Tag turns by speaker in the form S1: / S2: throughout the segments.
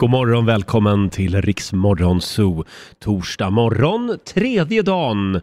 S1: God morgon, välkommen till Riksmorgon Zoo. Torsdag morgon, tredje dagen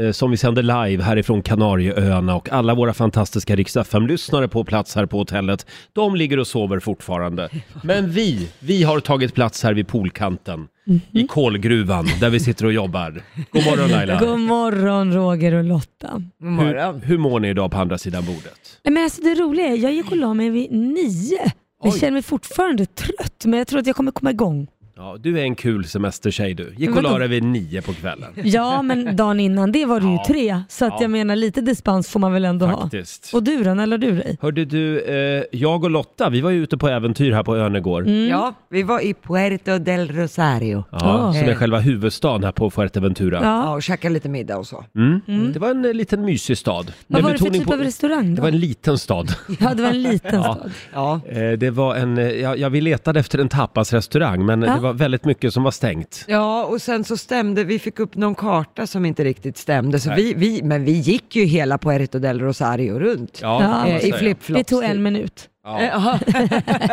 S1: eh, som vi sänder live härifrån Kanarieöarna och alla våra fantastiska Rix lyssnare på plats här på hotellet, de ligger och sover fortfarande. Men vi, vi har tagit plats här vid poolkanten,
S2: Mhm.
S1: i kolgruvan där vi sitter och jobbar. God morgon Laila!
S2: God morgon Roger och Lotta.
S1: Hur, hur mår ni idag på andra sidan bordet?
S2: Nej, Men alltså det roliga är, jag gick och la mig vid nio. Jag
S1: Oj.
S2: känner mig fortfarande trött men jag tror att jag kommer komma igång.
S1: Ja, du är en kul semestertjej du. Gick och
S2: Vadå?
S1: la dig vid nio på kvällen.
S2: Ja men dagen innan det var det ju
S1: Ja.
S2: tre så att
S1: Ja.
S2: jag menar lite dispens får man väl ändå
S1: Faktiskt.
S2: ha. Och du då, när la du dig?
S1: Hörde du, eh, jag och Lotta, vi var ju ute på äventyr här på ön igår.
S2: Mm.
S3: Ja, vi var i Puerto del Rosario. Eh,
S1: Ja,
S2: Ah.
S1: Som är själva huvudstaden här på Fuerteventura.
S2: Ja.
S3: Ja, och käkade lite middag och så.
S1: Mm. Det var en eh, liten mysig stad.
S2: Vad
S1: Med
S2: var det för
S1: betoning
S2: typ
S1: på-
S2: av restaurang
S1: Det
S2: då?
S1: var en liten stad.
S2: Ja det var en liten stad.
S3: Ja,
S1: Eh, Det var en, eh, ja, ja, vi letade efter en tapasrestaurang men eh,
S2: Ja.
S1: det var väldigt mycket som var stängt.
S3: ja och sen så stämde, vi fick upp någon karta som inte riktigt stämde, så vi, vi, men vi gick ju hela Puerto del Rosario runt.
S1: Ja,
S2: Ja.
S1: kan man
S3: eh, I
S1: säga.
S3: flipflops.
S2: Det tog en minut.
S3: Eh,
S1: Ja,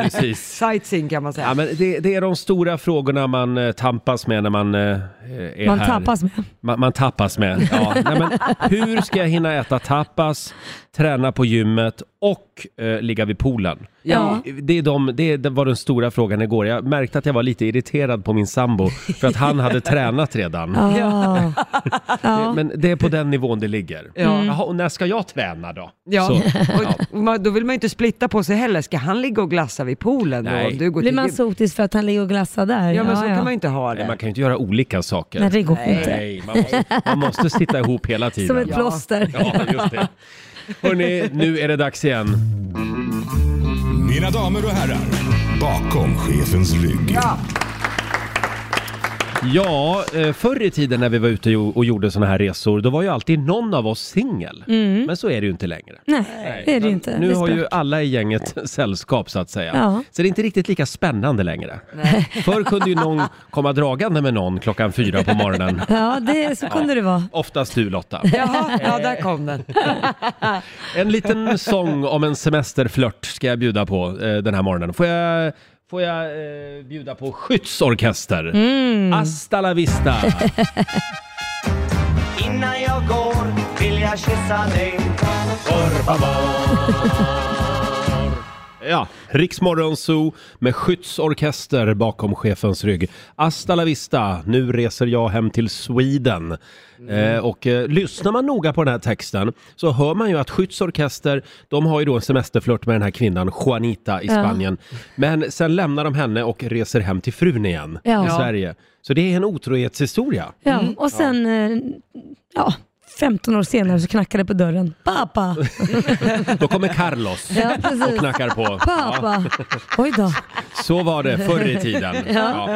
S1: precis.
S3: Sightseeing kan man säga.
S1: Ja, men det, det är de stora frågorna man eh, tampas med när man eh, är
S2: Man
S1: här.
S2: tappas med.
S1: Man, man tappas med. Ja. Nej, men hur ska jag hinna äta tapas, träna på gymmet och eh, ligga vid poolen?
S2: Ja.
S1: Det, är de, det, det var den stora frågan igår. Jag märkte att jag var lite irriterad på min sambo för att han hade tränat redan.
S2: Ja. Ja.
S1: Men det är på den nivån det ligger.
S3: Ja.
S1: Jaha, och när ska jag träna då?
S3: Ja,
S1: Så,
S3: och man, då vill man ju inte splitta på sig heller. Ska han ligga och glassa vid poolen då?
S1: Nej.
S3: Om du går
S2: Blir
S3: till
S2: man
S3: gym?
S2: sotis för att han ligger och glassar där?
S3: Ja, men så kan man ju inte ha
S1: nej,
S3: det.
S1: man kan ju inte göra olika saker.
S2: Nej det går inte.
S1: Nej, man, måste, man måste sitta ihop hela tiden.
S2: Som ett plåster.
S1: Ja, just det. Hörrni, nu är det dags igen.
S4: Mina damer och herrar, bakom chefens rygg.
S1: Ja, eh, förr i tiden när vi var ute och och gjorde såna här resor, då var ju alltid någon av oss singel. Men så är det ju inte längre.
S2: Mm. Nej det är det ju inte.
S1: Nu
S2: Det
S1: har
S2: spökar.
S1: ju alla i gänget sällskap så att säga.
S2: Ja.
S1: Så det är inte riktigt lika spännande längre. Förr kunde ju någon komma dragande med någon klockan fyra på morgonen.
S2: Ja, det, så kunde det vara.
S1: Oftast du Lotta. Eh.
S3: Jaha, ja där kom den.
S1: En liten sång om en semesterflört ska jag bjuda på eh, den här morgonen. Får jag, får jag eh, bjuda på Skyddsorkester? Hasta la vista!
S5: Innan jag går vill jag kyssa dig Por favor
S1: Ja, Riksmorgon Zoo med skyddsorkester bakom chefens rygg. Hasta la vista, nu reser jag hem till Sweden. Eh, och eh, lyssnar man noga på den här texten så hör man ju att skyddsorkester, de har ju då en semesterflört med den här kvinnan, Juanita i Spanien. Men sen lämnar de henne och reser hem till frun igen
S2: Ja.
S1: i Sverige. Så det är en otrohetshistoria.
S2: Ja,
S3: Mm.
S2: och sen eh, ja, 15 år senare så knackade det på dörren. Pappa!
S1: Då kommer Carlos
S2: Ja,
S1: och
S2: precis.
S1: knackar på. Ja.
S2: Pappa! Oj då.
S1: Så var det förr i tiden. Ja.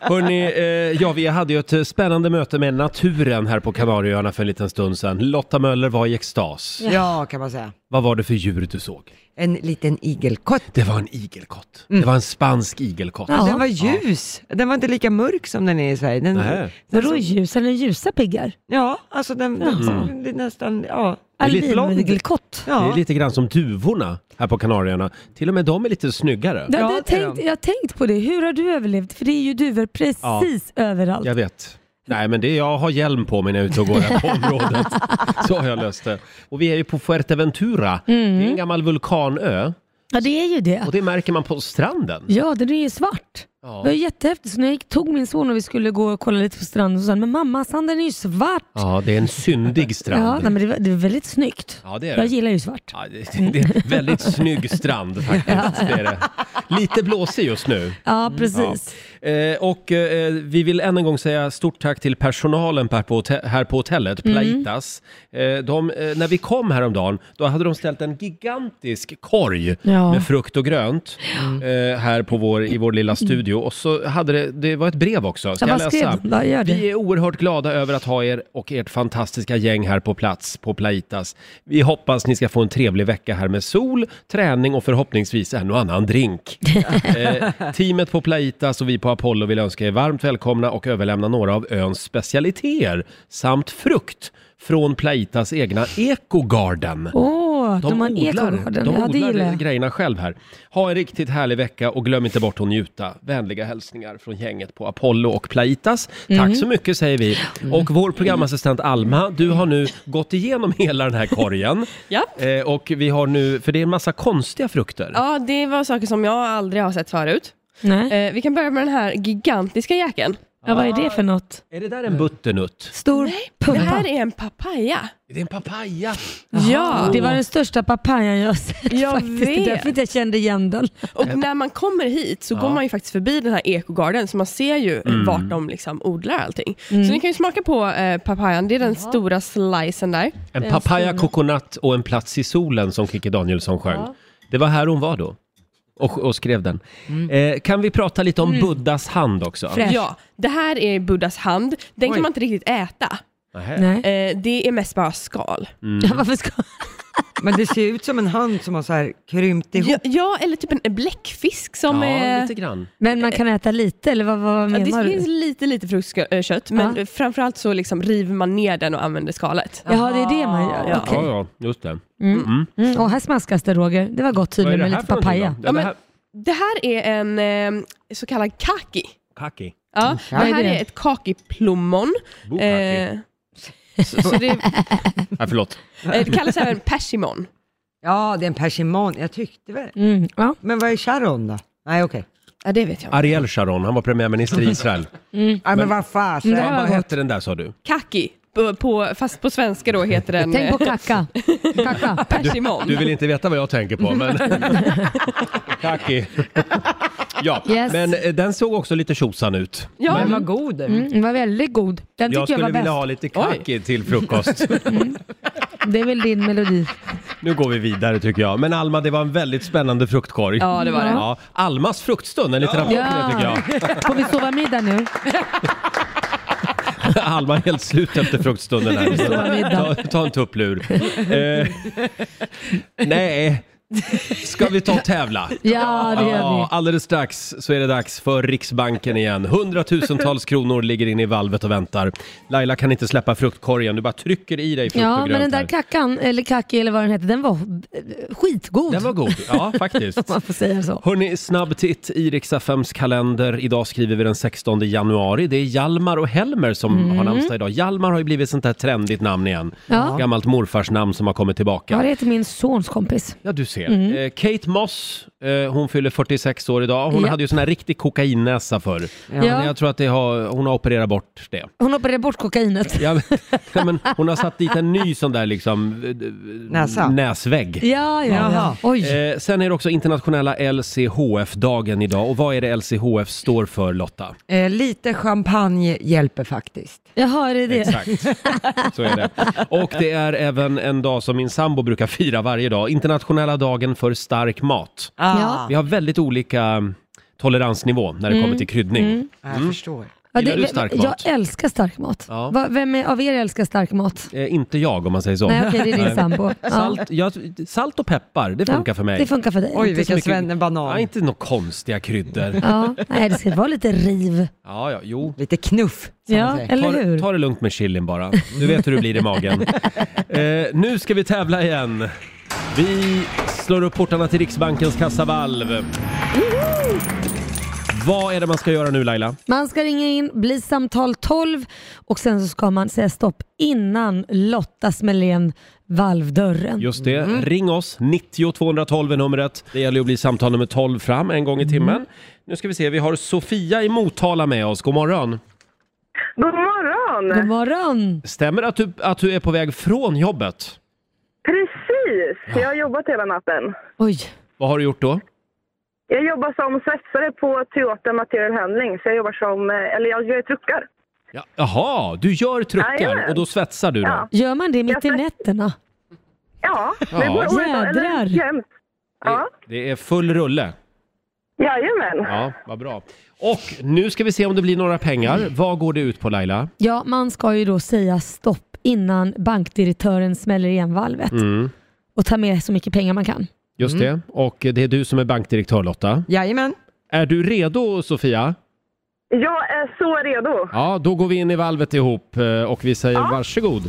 S1: Hörrni, eh, ja, vi hade ju ett eh, spännande möte med naturen här på Kanarieöarna för en liten stund sedan. Lotta Möller var i extas.
S3: Ja, kan man säga.
S1: Vad var det för djur du såg?
S3: En liten igelkott.
S1: Det var en igelkott. Det var en spansk igelkott.
S2: Ja.
S3: Den Mm. var ljus. Den var inte lika mörk som den är i Sverige. Den,
S1: Nähä.
S2: Vadå ljus? Eller ljusa piggar?
S3: Ja, alltså den,
S1: Mm.
S3: den som blir nästan, ja.
S2: Albinigelkott.
S1: Det är
S3: Ja.
S1: lite grann som duvorna här på Kanarieöarna. Till och med de är lite snyggare.
S3: Ja,
S2: Ja, det har
S3: det är
S2: tänkt,
S3: de.
S2: jag har tänkt på det. Hur har du överlevt? För det är ju duvor precis överallt.
S1: Jag vet. Nej, men det är, jag har hjälm på mig när jag är ute och går här på området. Så har jag löst det. Och vi är ju på Fuerteventura. Det är en gammal vulkanö.
S2: Mm. Ja, det är ju det.
S1: Och det märker man på stranden.
S2: Ja, den är ju svart.
S1: Ja.
S2: Det var ju jättehäftigt. Så när jag gick- tog min son och vi skulle gå och kolla lite på stranden så sa han, men mamma sanden är ju svart.
S1: Ja, det är en syndig strand.
S2: Ja, nej, men det var, det var väldigt snyggt.
S1: Ja, det är det.
S2: Jag gillar ju svart.
S1: Ja, det, det- det är en väldigt snygg strand faktiskt. Det är det. Lite blåsig just nu.
S2: Ja, precis.
S1: Eh, och eh, vi vill än en gång säga stort tack till personalen här på, hotell- här på hotellet,
S2: Mm.
S1: Plaitas. Eh, de, eh, när vi kom häromdagen, då hade de ställt en gigantisk korg
S2: Ja.
S1: med frukt och grönt eh, här på vår, i vår lilla studio. Och så hade det, det var ett brev också. Ska
S2: Ja,
S1: jag
S2: vad skrev
S1: läsa?
S2: de? Ja, gör det.
S1: Vi är oerhört glada över att ha er och ert fantastiska gäng här på plats på Plaitas. Vi hoppas ni ska få en trevlig vecka här med sol, träning och förhoppningsvis en och annan drink. eh, teamet på Plaitas och vi på Apollo vill önska er varmt välkomna och överlämna några av öns specialiteter samt frukt från Plaitas egna Ecogarden.
S2: Åh, Ja, de har en ekogården.
S1: odlar, de
S2: Ja, det gillar
S1: odlar
S2: jag.
S1: grejerna själv här. Ha en riktigt härlig vecka och glöm inte bort att njuta. Vänliga hälsningar från gänget på Apollo och Plaitas.
S2: Mm.
S1: Tack så mycket säger vi. Och vår programassistent Alma, du har nu gått igenom hela den här korgen.
S6: Ja.
S1: Eh, och vi har nu, för det är en massa konstiga frukter.
S6: Ja, det var saker som jag aldrig har sett förut.
S2: Nej.
S6: Eh, vi kan börja med den här gigantiska jäkeln.
S2: Ja, vad är det för något?
S1: Är det där en butternutt?
S2: Stor
S6: Det
S2: pumpa.
S6: här är en papaya.
S1: Är det en papaya?
S6: Ja,
S2: Det var den största papayan jag har sett
S6: Jag
S2: faktiskt. Det är
S6: vet.
S2: därför inte jag kände igen den.
S6: och när man kommer hit så går man ju faktiskt förbi den här ekogarden, så man ser ju
S1: Mm.
S6: vart de liksom odlar allting.
S2: Mm.
S6: Så ni kan ju smaka på eh, papayan, det är den stora slicen där.
S1: En papaya coconut och en plats i solen som Kikki Danielsson sjöng. Det var här hon var då. Och, och skrev den. Eh, kan vi prata lite om Buddhas hand också?
S2: Fräsch.
S6: Ja, det här är Buddhas hand. Den kan man inte riktigt äta.
S1: Nähä.
S2: Nej.
S6: Eh, det är mest bara skal.
S1: Mm.
S2: Ja, varför ska...
S3: Men det ser ut som en hand som har så här krympt ihop.
S6: Ja, ja, eller typ en bläckfisk som
S1: Ja,
S6: är...
S1: lite grann.
S2: Men man kan äta lite eller vad, vad
S6: Ja,
S2: menar
S6: det
S2: du?
S6: finns lite, lite fruktkött, men framförallt så liksom river man ner den och använder skalet.
S2: Jaha, det är det man gör.
S6: Ja.
S2: Okej.
S1: Ja, ja, just det.
S2: Mm. Och här smaskas det Roger. Det var gott tydligen med lite
S1: för någonting
S2: papaya.
S1: då? Ja,
S6: Ja,
S1: det
S6: men,
S1: här...
S6: det här är en eh, så kallad kaki.
S1: Kaki.
S6: Ja, det här
S2: det?
S6: är ett kakiplommon.
S1: Bokaki.
S6: Eh, så, så det, eh,
S1: Ja, förlåt.
S6: det kallas även persimon.
S3: Ja, det är en persimon. Jag tyckte väl.
S2: Mm. Ja.
S3: Men vad är Sharon då? Nej okej.
S6: Ja, det vet jag inte.
S1: Ariel Sharon, han var premiärminister i Israel.
S3: Nej men vad fasen.
S2: Mm,
S1: Vad
S2: det här
S1: vad
S2: var gott.
S1: hette den där sa du?
S6: Kaki, på, på, fast på svenska då heter den
S2: Tänk på
S6: eh,
S2: kacka. kacka.
S6: persimon.
S1: Du vill inte veta vad jag tänker på, men... Kaki. Ja,
S2: Yes.
S1: men eh, den såg också lite tjosan ut.
S6: Ja,
S3: Den var god.
S2: Mm, den var väldigt god. Den
S1: Jag
S2: tycker jag,
S1: skulle
S2: var bäst. Mm.
S1: vilja ha lite kaki till frukost.
S2: Det är väl din melodi.
S1: Nu går vi vidare tycker jag. Men Alma, det var en väldigt spännande fruktkorg.
S6: Ja, det var det.
S1: Ja, Almas fruktstund, en liten applåd för det tycker jag.
S2: Får vi sova middag nu?
S1: Alma är helt slut efter fruktstunden här.
S2: Så var middag.
S1: Ta, ta en tupplur. Eh, nej, ska vi ta och tävla?
S2: Ja, det gör vi.
S1: Ja, alldeles strax så är det dags för Riksbanken igen. Hundratusentals kronor ligger inne i valvet och väntar. Laila kan inte släppa fruktkorgen, du bara trycker i dig frukt och
S2: Ja,
S1: grönt
S2: men den där
S1: här.
S2: kackan, eller kacki eller vad den hette, den var eh, skitgod.
S1: Den var god, ja faktiskt.
S2: Om man får säga så.
S1: Hörni, snabb titt i Riksaffems kalender. Idag skriver vi den 16 januari. Det är Jalmar och Helmer som har namnsdag idag. Jalmar har ju blivit sånt där trendigt namn igen.
S2: Mm. Ja.
S1: Gammalt morfars namn som har kommit
S2: Ja, det
S1: tillbaka.
S2: heter min sons kompis. Mm.
S1: Ja, du ser. Eh, Kate Moss, eh, hon fyller 46 år idag. Hon
S2: Ja.
S1: hade ju sån här riktig kokainnäsa förr. Men
S2: Ja.
S1: jag tror att det har, hon har opererat bort det.
S2: Hon opererade bort kokainet.
S1: Ja, men, ja, men hon har satt dit en ny sån där liksom eh,
S3: Näsa.
S1: näsvägg.
S2: Ja, ja, ja.
S3: Jaha.
S2: Oj.
S1: Eh, sen är det också internationella LCHF-dagen idag. Och vad är det LCHF står för Lotta?
S3: Eh, lite champagne hjälper faktiskt.
S2: Jaha, är det det?
S1: Exakt, så är det. Och det är även en dag som min sambo brukar fira varje dag. Internationella dagen för stark mat.
S3: Ah.
S2: Ja. Mm.
S1: Vi har väldigt olika mm, toleransnivå när det kommer till kryddning. Mm.
S3: Jag förstår.
S2: Ja,
S1: Gillar du stark mat?
S2: Jag älskar stark mat.
S1: Ja.
S2: Va, vem är, av er älskar stark mat?
S1: Eh, inte jag om man säger så.
S2: Nej, okej, det är din sambo. Ja.
S1: Salt, ja, salt och peppar, det funkar
S2: Ja,
S1: för mig.
S2: Det funkar för dig.
S3: Oj,
S1: Inte så
S3: vilken
S1: mycket-
S3: svennebanan.
S1: Ja, inte några konstiga kryddor.
S2: Ja, nej, det ska vara lite riv.
S1: Ja, ja, jo.
S3: Lite knuff. som man
S2: Ja,
S3: säger.
S2: eller
S1: ta,
S2: hur?
S1: ta det lugnt med chilin bara. Du vet hur det blir i magen. Eh, nu ska vi tävla igen. Vi slår upp portarna till Riksbankens kassavalv. Vad är det man ska göra nu Laila?
S2: Man ska ringa in, bli samtal 12 och sen så ska man säga stopp innan Lotta smäller igen valvdörren.
S1: Just det,
S3: Mm.
S1: ring oss. 90 212 är numret. Det gäller ju att bli samtal nummer 12 fram en
S3: Mm.
S1: gång i timmen. Nu ska vi se, vi har Sofia i Motala med oss. God morgon.
S7: God morgon!
S2: God morgon!
S1: Stämmer det att du, att du är på väg från jobbet?
S7: Precis! Jag har jobbat hela natten.
S2: Oj,
S1: Vad har du gjort då?
S7: Jag jobbar som svetsare på Toyota Material Handling, så jag jobbar som, eh, eller jag gör truckar.
S1: Ja, jaha, du gör truckar
S7: Jajamän.
S1: och då svetsar du då?
S7: Ja.
S2: gör man det mitt i nätterna?
S7: Ja, det
S1: Ja.
S7: går året
S2: Jädrar.
S7: eller jämt. Ja,
S1: Det är full rulle.
S7: jajamän.
S1: Ja, vad bra. Och nu ska vi se om det blir några pengar. Vad går det ut på Laila?
S2: Ja, man ska ju då säga stopp innan bankdirektören smäller igen valvet och ta med så mycket pengar man kan.
S1: Mm, Just det. Och det är du som är bankdirektör Lotta.
S3: Jajamän.
S1: Är du redo Sofia?
S7: Jag är så redo.
S1: Ja, då går vi in i valvet ihop eh, och vi säger varsågod.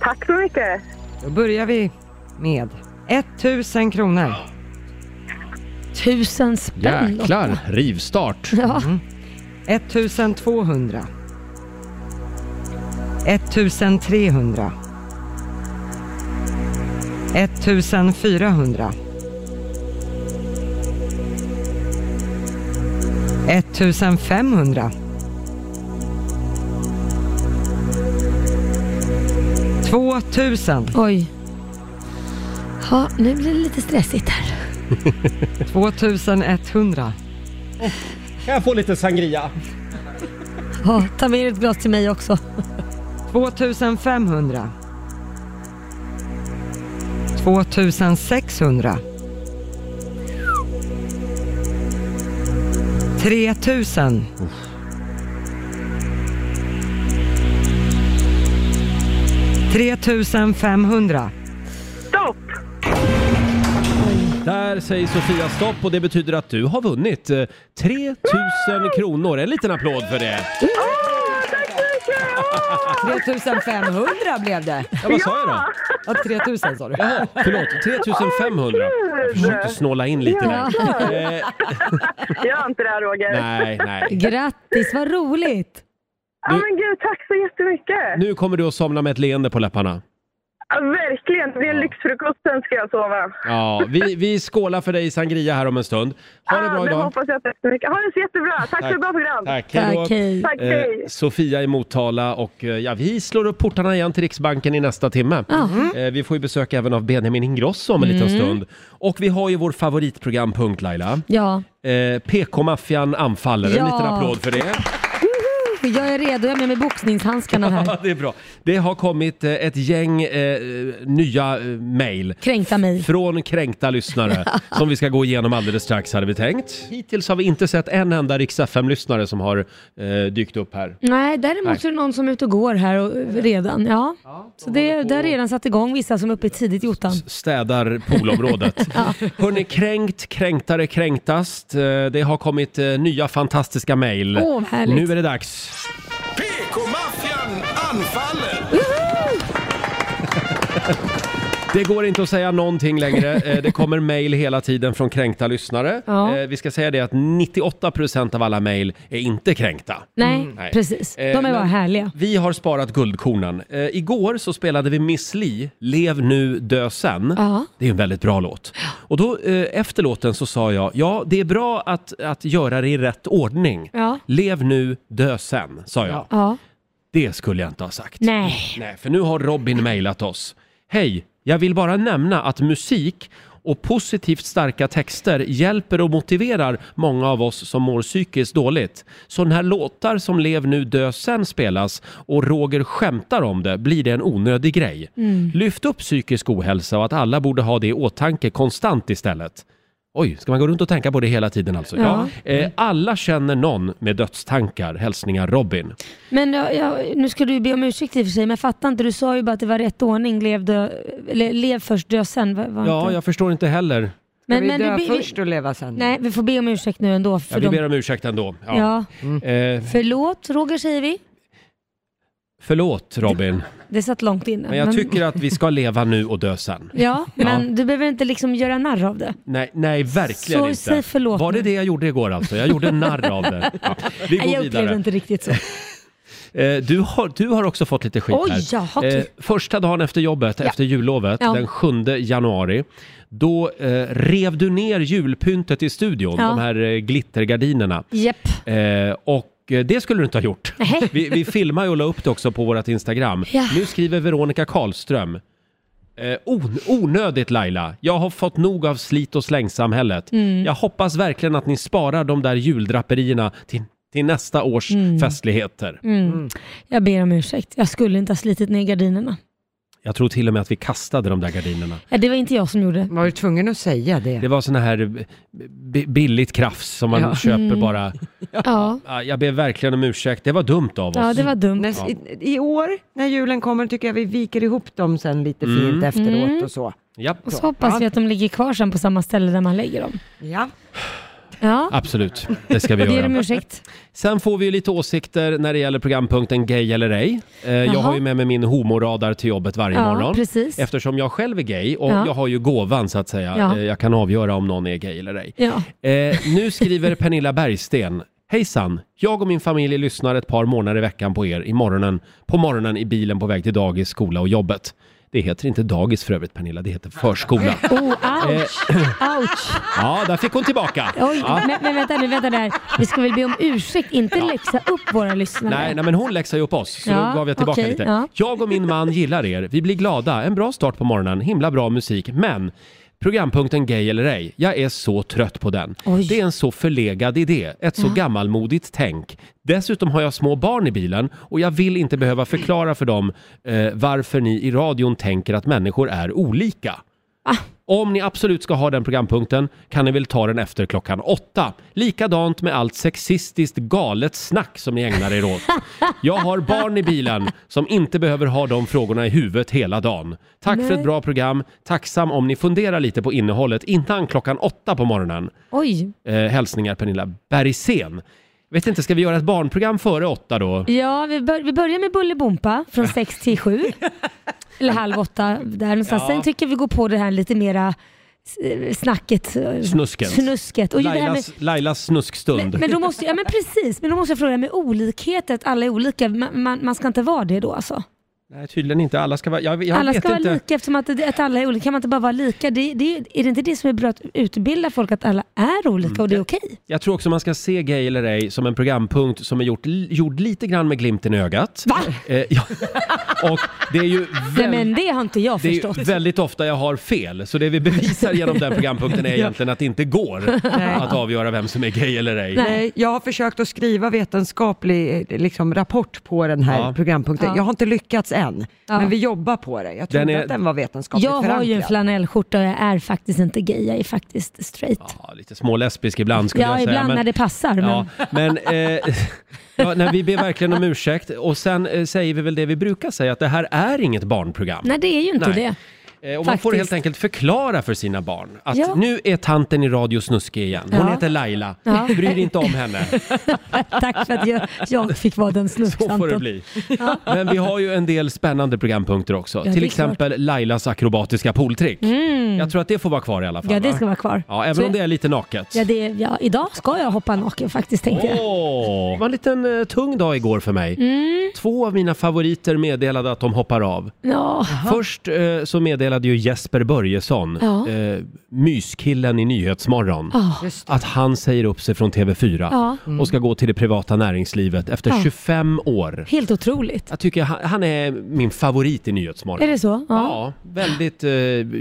S7: Tack så mycket.
S3: Då börjar vi. med 1000 kronor.
S2: Tusen spänn.
S1: Jäklar, rivstart.
S3: Mm. 1200. 1300. 1400. 1500. 2000.
S2: Oj. Ja, nu blir det lite stressigt här.
S3: 2100.
S1: Kan jag få lite sangria?
S2: Ja, ta med er ett glas till mig också.
S3: 2500. 2600. 3000. 3500.
S7: Stopp!
S1: Där säger Sofia stopp och det betyder att du har vunnit eh, 3000 kronor. En liten applåd för det.
S7: Tack så mycket! Åh!
S3: 3500 blev det.
S1: Ja, vad sa jag då?
S3: Ja, 3000 sa du.
S1: Jaha, förlåt. 3500. Jag försökte snåla in lite där. Eh,
S7: Gör inte det här Roger.
S1: nej, nej.
S2: Grattis, vad roligt.
S7: Ja, men gud, tack så jättemycket.
S1: Nu kommer du att somna med ett leende på läpparna.
S7: Ja, verkligen, det är lyxfrukosten ska jag sova.
S1: Ja, vi, vi skålar för dig i sangria här om en stund. Ha det
S7: Ja,
S1: bra idag.
S7: Ah, hoppas jag tack så mycket. Ha det så jättebra. Tack, för ett bra program.
S1: Tack, hej
S2: Tack,
S1: då.
S2: hej.
S7: Tack, hej.
S1: Eh, Sofia i Motala och eh, ja, vi slår upp portarna igen till Riksbanken i nästa timme.
S2: Mm.
S1: Eh, vi får ju besök även av Benjamin Ingrosso om en liten stund. Och vi har ju vår favoritprogrampunkt Laila.
S2: Ja,
S1: Eh, PK-maffian anfaller. En
S2: Ja.
S1: liten applåd för det.
S2: jag är redo. Jag har med mig boxningshandskarna
S1: Ja,
S2: här.
S1: det är bra. Det har kommit eh, ett gäng eh, nya eh, mejl.
S2: Kränkta mig.
S1: Från kränkta lyssnare som vi ska gå igenom alldeles strax hade vi tänkt. Hittills har vi inte sett en enda Rix lyssnare som har eh, dykt upp här.
S2: Nej, däremot
S1: Nej.
S2: så är det någon som är ute och går här och, redan. Ja. så det, det har redan satt igång vissa som är uppe tidigt i ottan.
S1: städar poolområdet. Hörni, kränkt, kränktare, kränktast. Eh, Det har kommit eh, nya fantastiska mejl.
S2: Åh, vad härligt.
S1: nu är det dags.
S4: PK-maffian anfaller!
S1: Det går inte att säga någonting längre. Eh, Det kommer mejl hela tiden från kränkta lyssnare.
S2: Ja.
S1: Eh, Vi ska säga det att 98% av alla mejl är inte kränkta.
S2: Nej,
S1: Nej.
S2: precis. De
S1: Eh,
S2: är bara
S1: men-
S2: härliga.
S1: Vi har sparat guldkornen. Eh, igår så spelade vi Miss Li, Lev nu, dö sen.
S2: Ja.
S1: Det är en väldigt bra låt. Och då eh, efter låten så sa jag, ja det är bra att, att göra det i rätt ordning.
S2: Ja.
S1: Lev nu, dö sen, sa jag.
S2: Ja.
S1: Det skulle jag inte ha sagt.
S2: Nej.
S1: Nej, för nu har Robin mejlat oss. Hej, jag vill bara nämna att musik och positivt starka texter hjälper och motiverar många av oss som mår psykiskt dåligt. Så när låtar som Lev nu dö sen spelas och Roger skämtar om det blir det en onödig grej.
S2: Mm.
S1: Lyft upp psykisk ohälsa och att alla borde ha det i åtanke konstant istället. Oj, ska man gå runt och tänka på det hela tiden alltså?
S2: Ja.
S1: Eh, alla känner någon med dödstankar. Hälsningar Robin.
S2: Men jag, jag, nu ska du be om ursäkt i och för sig, men jag fattar inte. Du sa ju bara att det var rätt ordning. Lev, dö, eller, lev först, dö sen. Var, var
S1: Ja,
S2: inte-
S1: jag förstår inte heller.
S3: Ska vi dö
S2: du be-
S3: först och leva sen?
S2: Nej, vi får be om ursäkt nu ändå. För
S1: Ja, vi
S2: de,
S1: ber om ursäkt ändå. Ja.
S2: ja. Mm.
S1: Eh,
S2: Förlåt, Roger säger vi.
S1: förlåt Robin,
S2: Det satt långt inne.
S1: men jag tycker att vi ska leva nu och dö sen.
S2: Ja, men du behöver inte liksom göra narr av det.
S1: Nej, nej verkligen
S2: Så
S1: inte.
S2: säg förlåt
S1: Var det
S2: nu.
S1: det jag gjorde igår alltså? Jag gjorde narr av det. Ja. Vi
S2: Nej,
S1: går
S2: jag upplevde
S1: vidare.
S2: inte riktigt så.
S1: Eh, du, har, du har också fått lite skit
S2: Oj,
S1: här. Eh,
S2: jaha, du.
S1: första dagen efter jobbet, efter jullovet,
S2: Ja.
S1: den 7 januari, då eh, rev du ner julpyntet i studion,
S2: Ja.
S1: de här eh, glittergardinerna.
S2: Jepp.
S1: Eh, och eh, det skulle du inte ha gjort.
S2: Nej.
S1: Vi, vi filmar ju och la upp det också på vårt Instagram.
S2: Ja.
S1: Nu skriver Veronica Karlström. Eh, on, onödigt Laila, jag har fått nog av slit och slängsamhället.
S2: Mm.
S1: Jag hoppas verkligen att ni sparar de där juldraperierna till, till nästa års
S2: Mm.
S1: festligheter.
S2: Jag ber om ursäkt. Jag skulle inte ha slitit ner gardinerna.
S1: Jag tror till och med att vi kastade de där gardinerna.
S2: Ja, det var inte jag som gjorde.
S3: Var du tvungen att säga det?
S1: Det var såna här eh, b- billigt krafs som man
S3: Ja.
S1: köper
S2: Mm.
S1: bara.
S2: Ja,
S1: Ah, Jag ber verkligen om ursäkt, det var dumt av oss.
S2: ja det var dumt.
S3: När, i, I år, när julen kommer, tycker jag vi viker ihop dem sen lite
S1: Mm.
S3: fint
S2: Mm.
S3: efteråt och så.
S1: Japp.
S2: Och så hoppas vi att de ligger kvar sen på samma ställe där man lägger dem.
S3: Ja.
S2: Ja,
S1: Absolut, det ska vi
S2: ger dem
S1: göra.
S2: ursäkt.
S1: Sen får vi ju lite åsikter när det gäller programpunkten Gay eller ej. Eh, Jag
S2: Jaha.
S1: har ju med mig min homoradar till jobbet varje
S2: Ja,
S1: morgon.
S2: precis.
S1: Eftersom jag själv är gay och
S2: Ja.
S1: jag har ju gåvan så att säga.
S2: Ja.
S1: Eh, Jag kan avgöra om någon är gay eller ej.
S2: Ja.
S1: Eh, nu skriver Pernilla Bergsten. Hejsan! Jag och min familj lyssnar ett par månader i veckan på er i morgonen, på morgonen i bilen på väg till dagis, skola och jobbet. Det heter inte dagis för övrigt Pernilla, det heter förskola. Eh,
S2: Oh, ouch. ouch.
S1: Ja, där fick hon tillbaka!
S2: Oj,
S1: Ja.
S2: men, men vänta nu, vänta där. Vi ska väl be om ursäkt, inte läxa upp våra lyssnare.
S1: Nej, nej, men hon läxade ju upp oss, så
S2: Ja,
S1: då gav jag tillbaka
S2: okej,
S1: lite.
S2: ja.
S1: Jag och min man gillar er. Vi blir glada. En bra start på morgonen. Himla bra musik. Men programpunkten Gay eller ej, jag är så trött på den.
S2: Oj.
S1: Det är en så förlegad idé, ett så gammalmodigt tänk. Dessutom har jag små barn i bilen och jag vill inte behöva förklara för dem eh, varför ni i radion tänker att människor är olika. Om ni absolut ska ha den programpunkten kan ni väl ta den efter klockan åtta. Likadant med allt sexistiskt galet snack som ni ägnar er åt. Jag har barn i bilen som inte behöver ha de frågorna i huvudet hela dagen. Tack för ett bra program. Tacksam om ni funderar lite på innehållet innan klockan åtta på morgonen.
S2: Oj.
S1: Eh, hälsningar Pernilla Bergsen. Vet inte, ska vi göra ett barnprogram före åtta då?
S2: Ja, vi, bör, vi börjar med Bullybompa från sex till sju Eller halv åtta, där någonstans.
S1: Ja.
S2: Sen tycker jag vi går på det här lite mera eh, snacket. eh,
S1: Snusket.
S2: Snusket. Och ju det här med,
S1: Lailas, Lailas snuskstund.
S2: men, men då måste, ja men precis, men då måste jag fråga med olikheter, att alla är olika. Man, man, man ska inte vara det då alltså?
S1: Nej, tydligen inte. Alla ska vara... Jag, jag
S2: alla
S1: vet
S2: ska
S1: inte.
S2: vara lika eftersom att, att alla är olika. Kan man inte bara vara lika? Det, det, är det inte det som är bra att utbilda folk att alla är olika och
S1: Mm.
S2: det är okej?
S1: Jag tror också man ska se Gay eller ej som en programpunkt som är gjort, gjord lite grann med glimten i ögat. Va? Eh, ja. Och det är ju
S2: Nej
S1: väl,
S2: men det har inte jag
S1: det är
S2: förstått.
S1: ju väldigt ofta jag har fel, så det vi bevisar genom den programpunkten är egentligen att det inte går att avgöra vem som är gay eller ej.
S3: Nej, jag har försökt att skriva vetenskaplig eh, liksom, rapport på den här
S1: Ja.
S3: programpunkten.
S2: Ja.
S3: Jag har inte lyckats än,
S2: Ja.
S3: men vi jobbar på det. Jag
S1: Den
S3: trodde
S1: är-
S3: att den var vetenskapligt
S2: Jag har ju en
S3: förankrad.
S2: flanellskjorta och jag är faktiskt inte gay, jag är faktiskt straight.
S1: Ja, lite smålesbisk ibland skulle
S2: Ja,
S1: jag säga.
S2: ibland
S1: men-
S2: när det passar. Men...
S1: Ja, men eh, ja, nej, vi ber verkligen om ursäkt och sen eh, säger vi väl det vi brukar säga att det här är inget barnprogram.
S2: Nej, det är ju inte
S1: Nej.
S2: det.
S1: Eh, Och man får
S2: Faktiskt.
S1: helt enkelt förklara för sina barn att
S2: Ja.
S1: nu är tanten i radio snuskig igen. Hon
S2: Ja.
S1: heter Laila.
S2: Ja.
S1: Bry dig inte om henne.
S2: Tack för att jag, jag fick vara den
S1: Så får det
S2: snuskanten.
S1: bli. Men vi har ju en del spännande programpunkter också.
S2: det är Mm.
S1: Till exempel Lailas akrobatiska pooltrick. Jag tror att det får vara kvar i alla fall.
S2: Ja, det
S1: va?
S2: ska vara kvar.
S1: ja även
S2: Så-
S1: om det är lite naket.
S2: Ja, det, ja, idag ska jag hoppa naken faktiskt tänkte jag.
S1: Åh, det var en liten eh, tung dag igår för mig.
S2: Mm.
S1: Två av mina favoriter meddelade att de hoppar av.
S2: Ja,
S1: Först eh, så meddelade ju Jesper Börjesson,
S2: Ja.
S1: eh, myskillen i Nyhetsmorgon,
S2: Ja.
S1: att han säger upp sig från TV4
S2: Ja.
S1: och ska gå till det privata näringslivet efter
S2: Ja.
S1: 25 år.
S2: helt otroligt.
S1: Jag tycker han, han är min favorit i
S2: Är
S1: Nyhetsmorgon.
S2: det så? Ja.
S1: Ja, väldigt eh,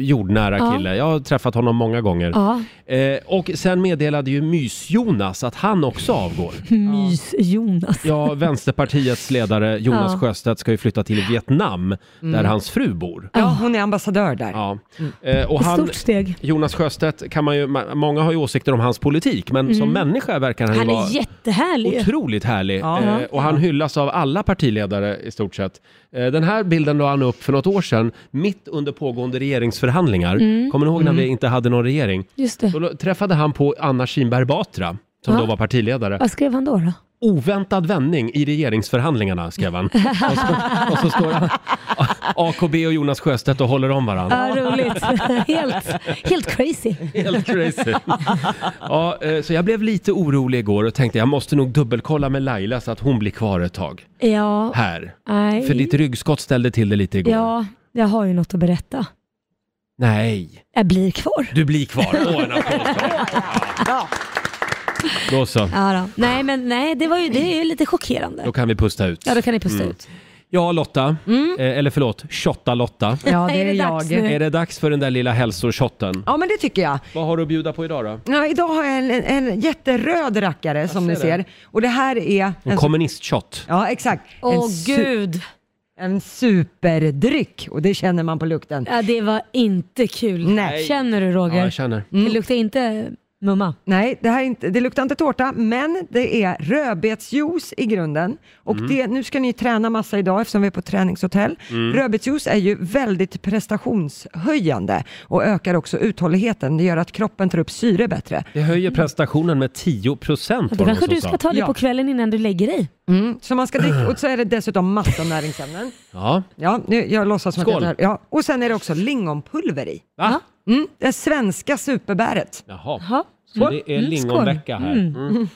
S1: jordnära
S2: Ja.
S1: kille. Jag har träffat honom många gånger.
S2: ja.
S1: Eh, och sen meddelade ju Mys-Jonas att han också avgår.
S2: Mys-Jonas.
S1: Ja, Vänsterpartiets ledare Jonas
S2: Ja. Mm.
S1: Sjöstedt ska ju flytta till Vietnam där hans fru bor.
S3: Ja, hon är ambassadör där.
S1: Ja. Eh, och
S2: Ett
S1: han,
S2: stort steg.
S1: Jonas Sjöstedt kan man ju, ma- många har ju åsikter om hans politik, men som människa verkar han,
S2: Mm. Han
S1: ju vara
S2: är jättehärlig.
S1: otroligt härlig. Eh, och han hyllas av alla partiledare i stort sett. Eh, den här bilden la han upp för något år sedan, mitt under pågående regeringsförhandlingar.
S2: Mm.
S1: Kommer ni ihåg när vi inte hade någon regering?
S2: Just det.
S1: Då lo- träffade han på Anna Kinberg Batra, som
S2: Ja.
S1: då var partiledare.
S2: Vad skrev han då? då?
S1: Oväntad vändning i regeringsförhandlingarna, skrev han. Och så, och så står han, AKB och Jonas Sjöstedt och håller om varandra.
S2: Ja, roligt. helt, helt crazy.
S1: Helt crazy. Ja, eh, så jag blev lite orolig igår och tänkte jag måste nog dubbelkolla med Laila så att hon blir kvar ett tag
S2: Ja,
S1: här.
S2: nej.
S1: För ditt ryggskott ställde till det lite igår.
S2: Ja, jag har ju något att berätta.
S1: Nej,
S2: Jag blir kvar.
S1: du blir kvar. Åh, en applåd för dig. Ja. Då så,
S2: Ja, då. Nej, men nej, det, var ju, det är ju lite chockerande.
S1: då kan vi pusta ut. Mm.
S2: Ja, då kan ni pusta ut.
S1: Ja, Lotta. Eh, eller förlåt, Shotta-Lotta.
S3: Mm. Ja,
S2: Är
S3: det
S2: det
S3: är
S2: dags nu?
S3: jag.
S1: Är det dags för den där lilla hälsoshotten?
S3: Ja, men det tycker jag.
S1: Vad har du att bjuda på idag då?
S3: Ja, idag har jag en, en, en jätteröd rackare som ni
S1: ser
S3: ser.
S1: det.
S3: Och det här är...
S1: En
S3: en-
S1: kommunistshot.
S3: Ja, exakt.
S2: Åh
S3: en, su-
S2: gud.
S3: en superdryck och det känner man på lukten.
S2: Ja, det var inte kul.
S3: Nej.
S2: Känner du Roger?
S1: Ja, jag känner.
S2: Det luktar inte Mumma.
S3: Nej, det, här är inte, det luktar inte tårta, men det är rödbetsjuice i grunden. Och
S1: Mm.
S3: det, nu ska ni träna massa idag eftersom vi är på träningshotell.
S1: Mm.
S3: Rödbetsjuice är ju väldigt prestationshöjande och ökar också uthålligheten. Det gör att kroppen tar upp syre bättre.
S1: Det höjer prestationen med 10 procent
S2: Det kanske du ska ta det
S3: Ja.
S2: på kvällen innan du lägger dig.
S3: Mm. Så man ska dricka, och så är det dessutom massa näringsämnen.
S1: Ja.
S3: Ja, nu, jag låtsas som
S1: Skål.
S3: att jag tar- ja. Och sen är det också lingonpulver i.
S1: Va?
S3: Mm. Det svenska superbäret.
S1: Jaha.
S2: Jaha.
S1: Så det är
S2: Mm,
S1: lingonvecka här. Mm.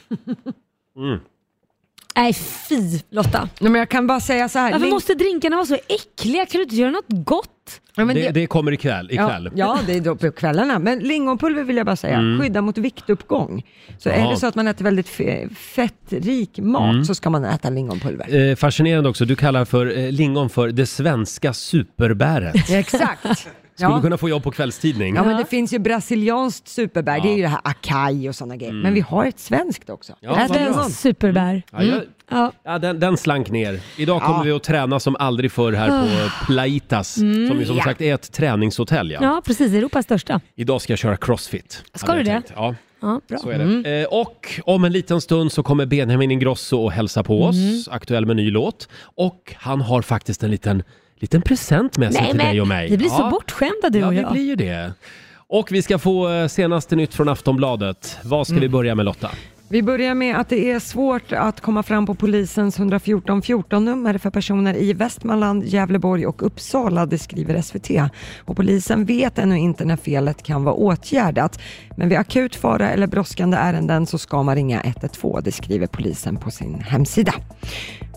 S2: Nej fy Lotta.
S3: Nej, men jag kan bara säga så här.
S2: Varför
S3: ling-
S2: måste drinkarna vara så äckliga? Kan du inte göra något gott?
S3: Ja, men
S1: Det,
S3: jag-
S1: det kommer ikväll.
S3: Ja,
S1: ikväll. Mm.
S3: ja, det är då på kvällarna. Men lingonpulver vill jag bara säga, skydda mot viktuppgång. Så
S1: Jaha. Mm.
S3: är det så att man äter väldigt fe- fettrik mat så ska man äta lingonpulver.
S1: Eh, fascinerande också, du kallar för eh, lingon för det svenska superbäret.
S3: Exakt.
S1: Skulle
S3: Ja.
S1: kunna få jobb på kvällstidning.
S3: ja, men det finns ju brasilianskt superbär. Det är ju det här acai och sådana grejer. Men vi har ett svenskt också.
S1: Mm. Ja,
S3: Ät
S1: vad bra. Mm.
S3: lingon.
S2: Superbär.
S1: Ja, jag,
S2: Mm. Ja.
S1: ja, den, den slank ner. Idag kommer
S3: Ja.
S1: vi att träna som aldrig förr här på Plaitas, som ju som sagt är ett träningshotell. Ja.
S2: Ah. Mm. ja precis, Europas största.
S1: Idag ska jag köra crossfit.
S2: Ska
S1: hade
S2: du
S1: jag
S2: det?
S1: tänkt. Ja.
S2: Ja, bra. Mm.
S1: Så är det. Eh, och om en liten stund så kommer Benjamin Ingrosso och hälsa på
S2: Mm.
S1: oss, aktuell med ny låt. Och han har faktiskt en liten, liten present med sig
S2: Nej
S1: till dig och
S2: men
S1: mig.
S2: vi blir så
S1: Ja.
S2: bortskämda du
S1: Ja,
S2: och
S1: vi
S2: jag.
S1: blir ju det. Och vi ska få eh, senaste nytt från Aftonbladet. Vad
S2: Mm.
S1: ska vi börja med Lotta?
S3: Vi börjar med att det är svårt att komma fram på polisens 114 14-nummer för personer i Västmanland, Gävleborg och Uppsala, det skriver SVT. Och polisen vet ännu inte när felet kan vara åtgärdat. Men vid akut fara eller brådskande ärenden så ska man ringa 112, det skriver polisen på sin hemsida.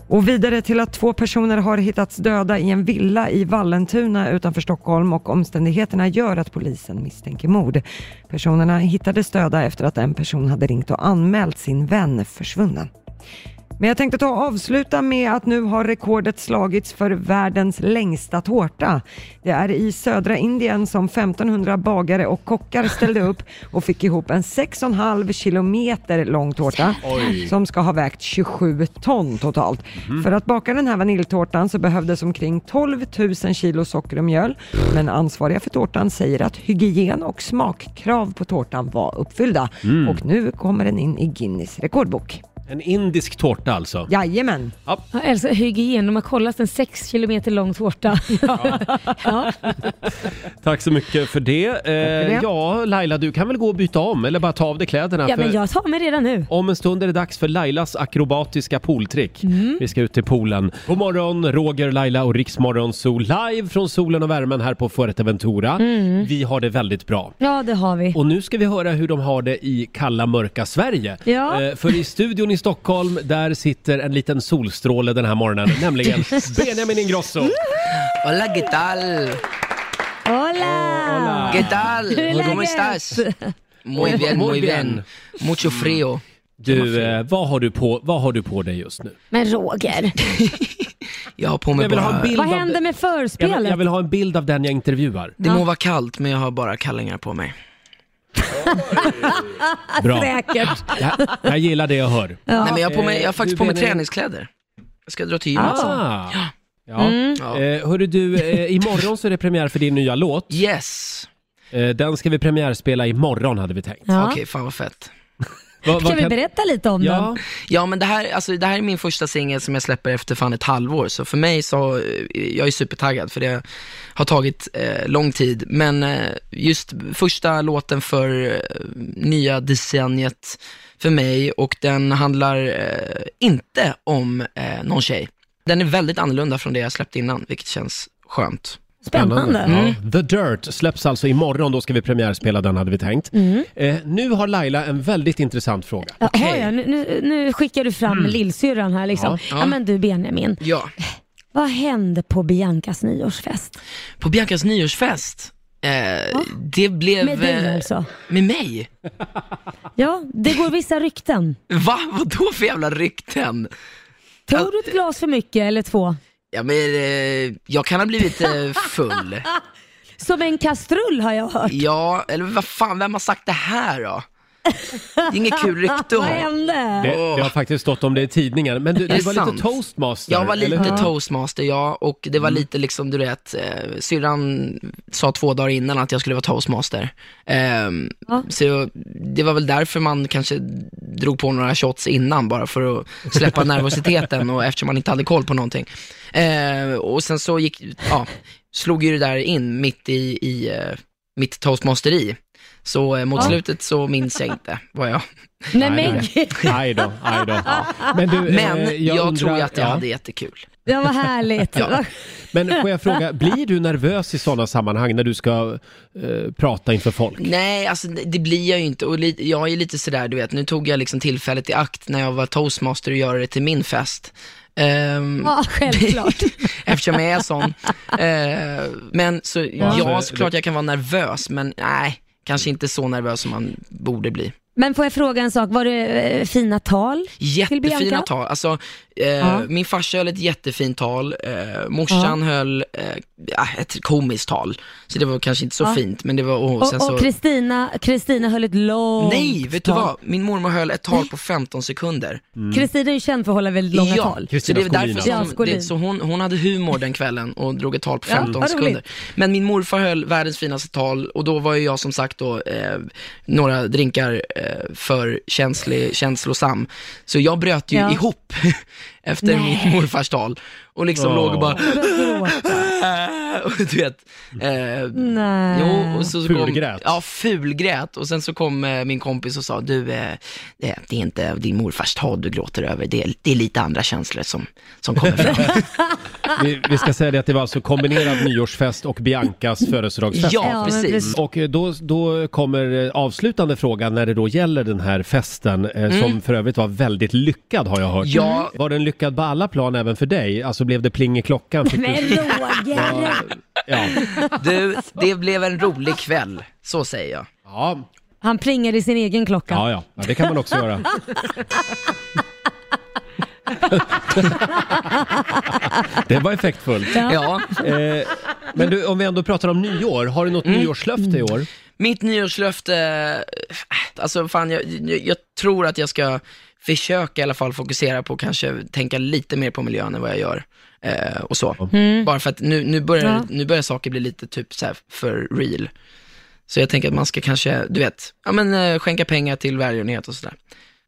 S3: Och vidare till att två personer har hittats döda i en villa i Vallentuna utanför Stockholm och omständigheterna gör att polisen misstänker mord. Personerna hittades döda efter att en person hade ringt och anmält sin vän försvunnen. Men jag tänkte ta och avsluta med att nu har rekordet slagits för världens längsta tårta. Det är i södra Indien som 1500 bagare och kockar ställde upp och fick ihop en 6,5 kilometer lång tårta som ska ha vägt 27 ton totalt.
S1: Mhm.
S3: För att baka den här vaniljtårtan så behövdes omkring 12 000 kilo socker och mjöl. Men ansvariga för tårtan säger att hygien och smakkrav på tårtan var uppfyllda. Och nu kommer den in i Guinness rekordbok.
S1: Mm. En indisk tårta alltså.
S3: Jajamän!
S2: Jag älskar hygien, de har kollat en 6 kilometer lång tårta. Ja.
S1: Tack så mycket för det. Eh,
S3: det.
S1: Ja, Laila, du kan väl gå och byta om eller bara ta av dig kläderna.
S2: ja,
S1: för
S2: men jag tar mig redan nu.
S1: Om en stund är det dags för Lailas akrobatiska pooltrick.
S2: Mm.
S1: Vi ska ut till poolen. God morgon, Roger, Laila och Riksmorgon Sol live från solen och värmen här på Fuerteventura.
S2: Mm.
S1: Vi har det väldigt bra.
S2: Ja, det har vi.
S1: Och nu ska vi höra hur de har det i kalla mörka Sverige.
S2: Ja.
S1: Eh, för i studion i Stockholm, där sitter en liten solstråle den här morgonen, nämligen Benjamin Ingrosso.
S8: Mm. Hola, ¿qué tal?
S1: Oh,
S2: Hola!
S8: ¿Qué tal?
S2: ¿Qué tal?
S8: ¿Cómo estás? Muy bien,
S1: Muy
S8: muy bien.
S1: bien.
S8: Mucho frío.
S1: Mm. Du, eh, vad, har du på, vad har du på dig just nu?
S2: Men Roger,
S8: Jag har på mig
S1: Jag vill ha en
S8: bara...
S1: bild
S2: vad
S1: av
S2: hände
S1: det-
S2: med
S1: jag vill, jag
S2: förspelet?
S1: vill ha en bild av den jag intervjuar.
S8: Det må vara kallt, men jag har bara kallingar på mig.
S1: Bra.
S2: Säkert.
S1: Jag, jag gillar det jag hör.
S8: Nej, men jag har, på mig, jag har
S1: Eh,
S8: faktiskt
S1: du,
S8: på mig
S1: Benjamin?
S8: träningskläder. Jag ska dra till gymmet sen.
S1: Ah. Ja.
S8: Ja.
S1: Eh, hörru du, eh, imorgon så är det premiär för din nya låt.
S8: Yes!
S1: Eh, den ska vi premiärspela imorgon hade vi tänkt.
S2: Ja.
S8: Okej, fan vad fett.
S1: Va- va-
S2: Kan vi berätta lite om
S1: Ja,
S8: Ja, men det här, alltså, det här är min första singel som jag släpper efter fan ett halvår, så för mig så, eh, jag är supertaggad för det har tagit eh, lång tid. Men eh, just första låten för eh, nya decenniet för mig och den handlar eh, inte om eh, någon tjej. Den är väldigt annorlunda från det jag släppte innan, vilket känns skönt.
S2: den? Spännande.
S8: Mm.
S1: Ja. The Dirt släpps alltså imorgon, då ska vi premiärspela den hade vi tänkt.
S8: Mm.
S1: Eh, nu har Laila en väldigt intressant fråga.
S2: Ja,
S8: Okej.
S2: har jag? Nu, nu, nu skickar du fram lillsyrran här liksom.
S1: Mm. Ja.
S2: Ja,
S8: Ja.
S2: men du Benjamin,
S8: Ja.
S2: vad hände på Biancas nyårsfest?
S8: På Biancas nyårsfest, eh, det blev...
S2: Med dig
S8: eh,
S2: alltså?
S8: Med mig?
S2: Ja, det går vissa rykten.
S8: Va? Vadå för jävla rykten?
S2: Tog du ett glas för mycket eller två?
S8: Ja, men, eh, jag kan ha blivit eh, full.
S2: Som en kastrull har jag hört.
S8: Ja, eller vad fan, vem har sagt det här då? Det är inget kul rykte att
S2: Vad
S8: ha.
S2: hände?
S1: Det, det har faktiskt stått om det i tidningar. Men du,
S8: det
S1: du var
S8: sant?
S1: lite toastmaster.
S8: Jag var
S1: eller
S8: lite
S1: hur? Mm.
S8: toastmaster, ja. Och det var lite liksom, du vet, eh, syrran sa två dagar innan att jag skulle vara toastmaster. Ehm,
S2: Ja.
S8: Så jag- det var väl därför man kanske drog på några shots innan, bara för att släppa nervositeten och eftersom man inte hade koll på någonting. Ehm, och sen så gick, ja, slog ju det där in mitt i, i eh, mitt toastmasteri. Så eh, mot
S2: Ja.
S8: slutet så minns jag inte vad jag...
S2: Nej,
S1: Nej,
S2: men gud,
S1: Aj då, aj då. Men, du, eh,
S8: Men jag,
S1: undrar-
S8: tror ju att jag
S1: ja.
S8: hade jättekul.
S2: det var härligt.
S8: Ja.
S1: Men får jag fråga, blir du nervös i sådana sammanhang när du ska eh, prata inför folk?
S8: Nej, alltså det det blir jag ju inte. Och li- jag är lite sådär, du vet, nu tog jag liksom tillfället i akt när jag var toastmaster och göra det till min fest. Ehm,
S2: Ja, självklart.
S8: Eftersom jag är sån. Ehm, men så, ja,
S1: så-
S8: såklart jag kan vara nervös, men nej, kanske inte så nervös som man borde bli.
S2: Men får jag fråga en sak? Var det eh, fina tal? Bianca?
S8: Jättefina tal. Alltså, eh,
S2: Ja.
S8: Min farsa höll ett jättefint tal, eh, morsan höll eh, ja, ett komiskt tal. Så det var kanske inte så
S2: Ja.
S8: fint, men det var... Och, sen
S2: Och,
S8: så,
S2: och Kristina, Kristina höll ett långt
S8: Nej, vet du
S2: tal.
S8: vad? Min mormor höll ett tal på 15 sekunder.
S2: Kristina är ju känd för att hålla väldigt långa
S8: ja,
S2: tal.
S8: så
S1: Mm. Kristina
S8: det är därför
S1: Skolin,
S2: alltså. Ja,
S8: som,
S2: Skolin.
S8: det, så hon, hon hade humor den kvällen och drog ett tal på
S2: Ja,
S8: 15
S2: vad
S8: sekunder.
S2: roligt.
S8: Men min morfar höll världens finaste tal och då var ju jag som sagt då eh, några drinkar eh, för känslig, känslosam. Så jag bröt ju
S2: Ja.
S8: ihop efter
S2: Nej.
S8: mitt morfars tal och liksom
S1: Åh.
S8: låg och bara
S2: Började gråta.
S8: och du vet, eh,
S2: Nej.
S8: Jo, och så så kom,
S1: Fulgrät.
S8: Ja, fulgrät. Och sen så kom eh, min kompis och sa, du, eh, det, det är inte din morfars tal du gråter över, det är, det är lite andra känslor som, som kommer fram.
S1: Vi, vi ska säga det att det var alltså kombinerad nyårsfest och Biancas födelsedagsfest.
S2: Ja, men
S8: ja,
S2: precis.
S8: precis.
S1: Och eh, då, då kommer eh, avslutande frågan när det då gäller den här festen, eh, som för övrigt var väldigt lyckad har jag hört.
S8: Mm.
S1: Mm.
S8: Ja.
S1: Var den lyckad på alla plan även för dig? Alltså blev det pling i klockan? Fick
S2: Men
S1: du...
S2: Roger!
S1: ja.
S8: Du, det blev en rolig kväll, så säger jag.
S1: Ja.
S2: Han plingar i sin egen klocka.
S1: Ja, ja, ja, det kan man också göra. det var effektfullt.
S8: Ja.
S1: Eh, men du, om vi ändå pratar om nyår, har du något
S8: Mm.
S1: nyårslöfte i år?
S8: Mitt nyårslöfte, eh, alltså fan, jag, jag, jag tror att jag ska försöka i alla fall fokusera på kanske tänka lite mer på miljön än vad jag gör. Eh, och så. Bara för att nu, nu, börjar,
S2: Ja.
S8: nu börjar saker bli lite typ så här för real. Så jag tänker att man ska kanske, du vet, ja, men, eh, skänka pengar till välgörenhet och sådär.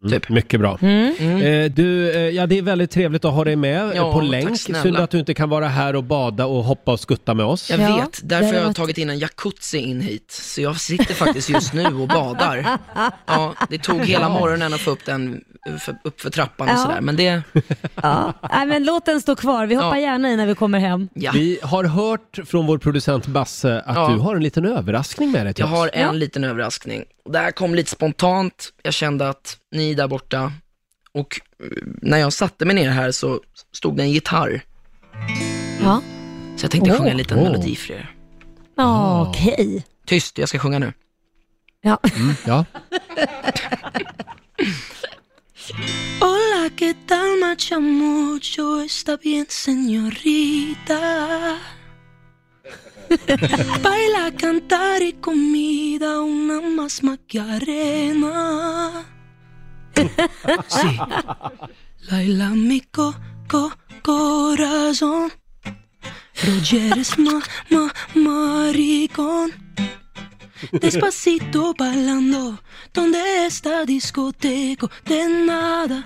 S8: Typ.
S1: Mm. Mycket bra. Eh, du, eh, ja, det är väldigt trevligt att ha dig med eh,
S8: Ja,
S1: på
S8: tack
S1: länk.
S8: snälla.
S1: Synd att du inte kan vara här och bada och hoppa och skutta med oss.
S8: Jag
S2: Ja,
S8: vet,
S2: det
S8: därför
S2: hade
S8: har jag
S2: varit-
S8: tagit in en jacuzzi in hit. Så jag sitter faktiskt just nu och badar. Ja, det tog hela morgonen att få upp den för, upp för trappan och
S2: Ja.
S8: sådär. Men det,
S2: Ja. Nej, men låt den stå kvar. Vi hoppar
S8: Ja.
S2: gärna i när vi kommer hem.
S8: ja.
S1: Vi har hört från vår producent Basse att
S8: Ja.
S1: du har en liten överraskning med dig till
S8: Jag har
S1: oss.
S8: en liten överraskning. Det här kom lite spontant. Jag kände att ni är där borta och eh, när jag satte mig ner här så stod det en gitarr.
S2: Ja.
S8: Så jag tänkte
S2: Åh.
S8: sjunga en liten
S1: Åh.
S8: melodi för er.
S2: Ja, Okej.
S8: Tyst, jag ska sjunga nu.
S2: Ja.
S1: Mm, Ja.
S8: Hola, ¿qué tal, macha mucho? Está bien, señorita. Baila, cantar y comida, una más macarena. sí. Laila, mi co, co, corazón. Roger es ma, ma, maricón. Despacito bailando, donde está discoteco? De nada,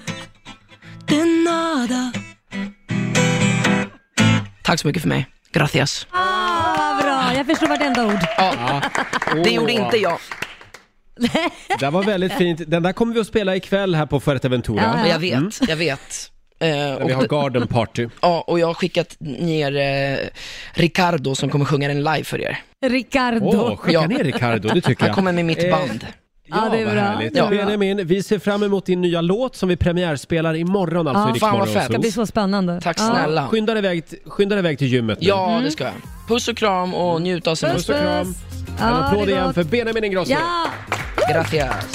S8: de nada. Tack så mycket för mig. Gracias.
S2: Ah, vad bra. Jag förstår vartenda ord.
S8: Det gjorde
S1: Åh,
S8: inte jag,
S1: Det var väldigt fint. Den där kommer vi att spela ikväll här på Fuerteventura.
S2: Ja,
S8: men jag vet,
S1: Mm.
S8: jag vet. Eh,
S1: Vi
S8: och,
S1: har garden party.
S8: ja, och jag har skickat ner eh, Ricardo som kommer sjunga den live för er.
S2: Ricardo.
S1: Åh, skicka
S8: Ja.
S1: ner Ricardo, det tycker jag.
S8: Han kommer med mitt
S1: Eh,
S8: band.
S1: Ja,
S2: Ja, det är
S1: vad
S2: bra.
S1: härligt.
S2: Det är bra.
S1: Benjamin, vi ser fram emot din nya låt som vi premiärspelar imorgon alltså
S2: Ja.
S1: i Rix
S8: Fan, vad
S1: Morgon
S8: fett.
S1: Zoo.
S2: Det blir så spännande.
S8: Tack
S2: Ja.
S8: snälla.
S1: Skynda dig iväg, skynda dig iväg till gymmet nu. Mm.
S8: Ja, det ska jag. Puss och kram och njut av
S1: Puss och
S8: semestern.
S1: kram. En
S2: Ja,
S1: applåd
S2: det är
S1: igen
S2: gott.
S1: för Benjamin Ingrosso.
S2: Ja.
S8: Gracias.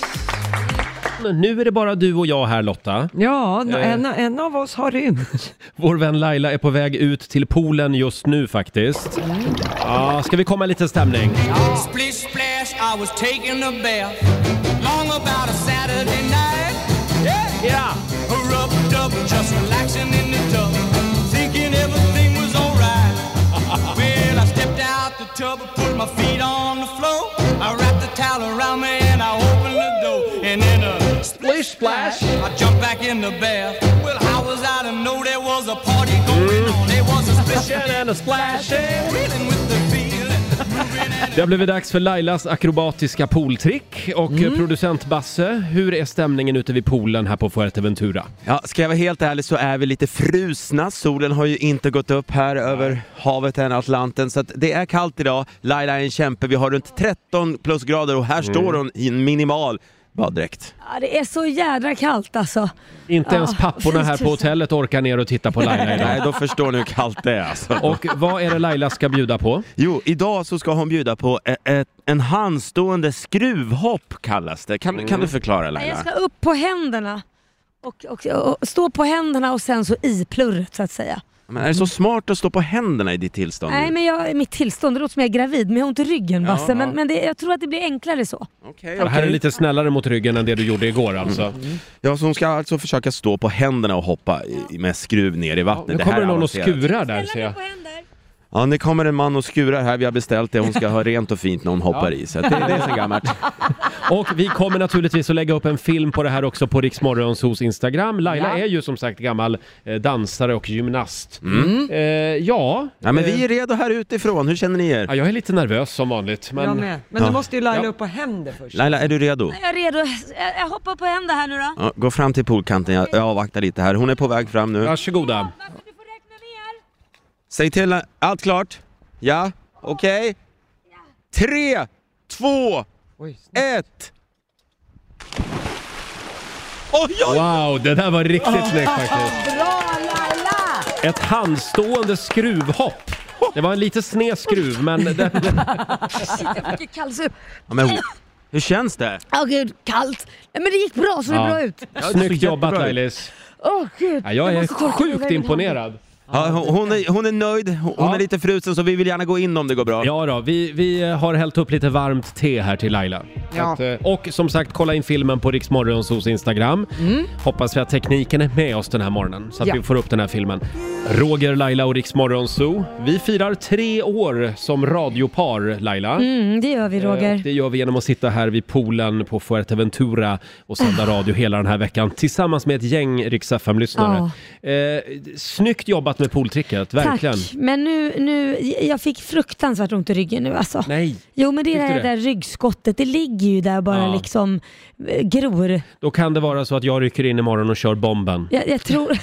S1: Nu är det bara du och jag här Lotta. Eh,
S3: Ja, nå- en, en av oss har rymt.
S1: Vår vän Laila är på väg ut till poolen just nu faktiskt. Ja, ska vi komma i lite stämning?
S4: Splish splash
S5: I was taking a bath long about a Saturday night. Yeah, yeah. Rubbed up, just relaxing in the tub, thinking everything was alright. well, I stepped out the tub, put my feet on the floor. I wrapped the towel around me and I opened the door. And in a splish splash, I jumped back in the bath. Well, I was out and know there was a party going on. There was a splish and a splash, and reeling with the feeling, moving and
S1: Det har blivit dags för Lailas akrobatiska pooltrick och
S3: Mm.
S1: eh, producent Basse, hur är stämningen ute vid poolen här på Fuerteventura?
S9: Ja, ska jag vara helt ärlig så är vi lite frusna. Solen har ju inte gått upp här över havet än, Atlanten. Så att det är kallt idag. Laila är en kämpe. Vi har runt 13 plusgrader och här
S1: Mm.
S9: står hon i en minimal baddräkt.
S2: Ja, det är så jädra kallt alltså.
S1: Inte
S2: Ja,
S1: ens papporna här på
S2: fy tusan.
S1: hotellet orkar ner och titta på Laila idag.
S9: Nej, då förstår ni hur kallt det är alltså. Och,
S1: Och vad är det Laila ska bjuda på?
S9: jo, idag så ska hon bjuda på e- ett, en handstående skruvhopp kallas det. Kan,
S1: Mm.
S9: kan du förklara
S2: Nej,
S9: Laila?
S2: Jag ska upp på händerna. Och, och, och stå på händerna och sen så i plurret så att säga.
S9: Men är det så smart att stå på händerna i ditt tillstånd?
S2: Nej men jag, mitt tillstånd, det låter som jag är gravid men jag har ont i ryggen Basse.
S9: Ja.
S2: Men, men det, jag tror att det blir enklare så.
S9: Okej,
S1: Det här är
S9: okej. Mm.
S1: lite snällare mot ryggen än det du gjorde igår alltså.
S9: Ja, så hon ska alltså försöka stå på händerna och hoppa i- med skruv ner i vattnet.
S1: Nu
S9: här
S1: kommer det
S9: är
S1: någon och
S9: avancerat.
S1: skurar där ser
S2: Ställa
S1: jag.
S2: dig på händer.
S9: Ja, det kommer en man och skurar här. Vi har beställt det. Hon ska ha rent och fint när hon hoppar i. Så att det, det är så gammalt.
S1: Och vi kommer naturligtvis att lägga upp en film på det här också på Riksmorgons hos Instagram. Laila är ju som sagt gammal eh, dansare och gymnast. Eh, ja,
S9: Mm.
S1: Eh.
S9: Ja, men vi är redo här utifrån. Hur känner ni
S1: ja,
S9: er?
S1: jag är lite nervös som vanligt.
S3: Jag
S1: Men...
S3: med. Men
S9: Ja.
S3: du måste ju Laila
S1: Ja.
S3: upp på händer först.
S9: Laila, är du redo?
S2: Jag är redo, jag, jag hoppar på händer här nu då.
S9: Ja, gå fram till poolkanten. Jag, jag avvaktar lite här. Hon är på väg fram nu.
S1: Varsågoda.
S2: Basse du får räkna ner.
S9: Säg till. Allt klart? Ja? Okej? Tre, två,
S3: Oj, snyggt.
S9: ett! Oj, oj!
S1: Wow, det där var
S9: Ah.
S1: riktigt snyggt faktiskt.
S2: Bra Laila!
S1: Ett handstående skruvhopp. Det var en lite sned skruv, men det,
S2: Shit jag fick kallsup.
S9: Ja, men, hur känns det?
S2: Åh gud, kallt. Nej, Men det gick bra, så det
S1: Ja.
S2: bra ut.
S1: snyggt jobbat
S9: jättebra.
S1: Lailis.
S2: Åh gud.
S1: Ja, jag är
S2: måste torka mig
S1: sjukt
S2: med
S1: imponerad.
S9: Ja, hon, hon, är, hon är nöjd, hon
S1: Ja.
S9: är lite frusen så vi vill gärna gå in om det går bra.
S1: Ja då, vi, vi har hällt upp lite varmt te här till Laila.
S3: Ja.
S1: Att, eh, och som sagt, kolla in filmen på Riksmorgonsos Instagram.
S2: Mm.
S1: Hoppas vi att tekniken är med oss den här morgonen så att
S3: Ja.
S1: vi får upp den här filmen. Roger, Laila och Riksmorgonso. Vi firar tre år som radiopar, Laila.
S2: handen. Mm, det gör vi
S1: Eh, och
S2: Roger.
S1: Det gör vi genom att sitta här vid poolen på Fuerteventura och sända
S2: Ah.
S1: radio hela den här veckan tillsammans med ett gäng Rix lyssnare eh, Snyggt jobbat med pooltricket, verkligen.
S2: Ah. Tack, men nu, nu, jag fick fruktansvärt ont i ryggen nu alltså.
S1: Nej,
S2: Jo men det är
S1: Fick
S2: det
S1: du det?
S2: här där ryggskottet, det ligger ju där bara
S1: Ja.
S2: liksom eh, gror.
S1: då kan det vara så att jag rycker in imorgon och kör bomben.
S2: Jag, jag, tror,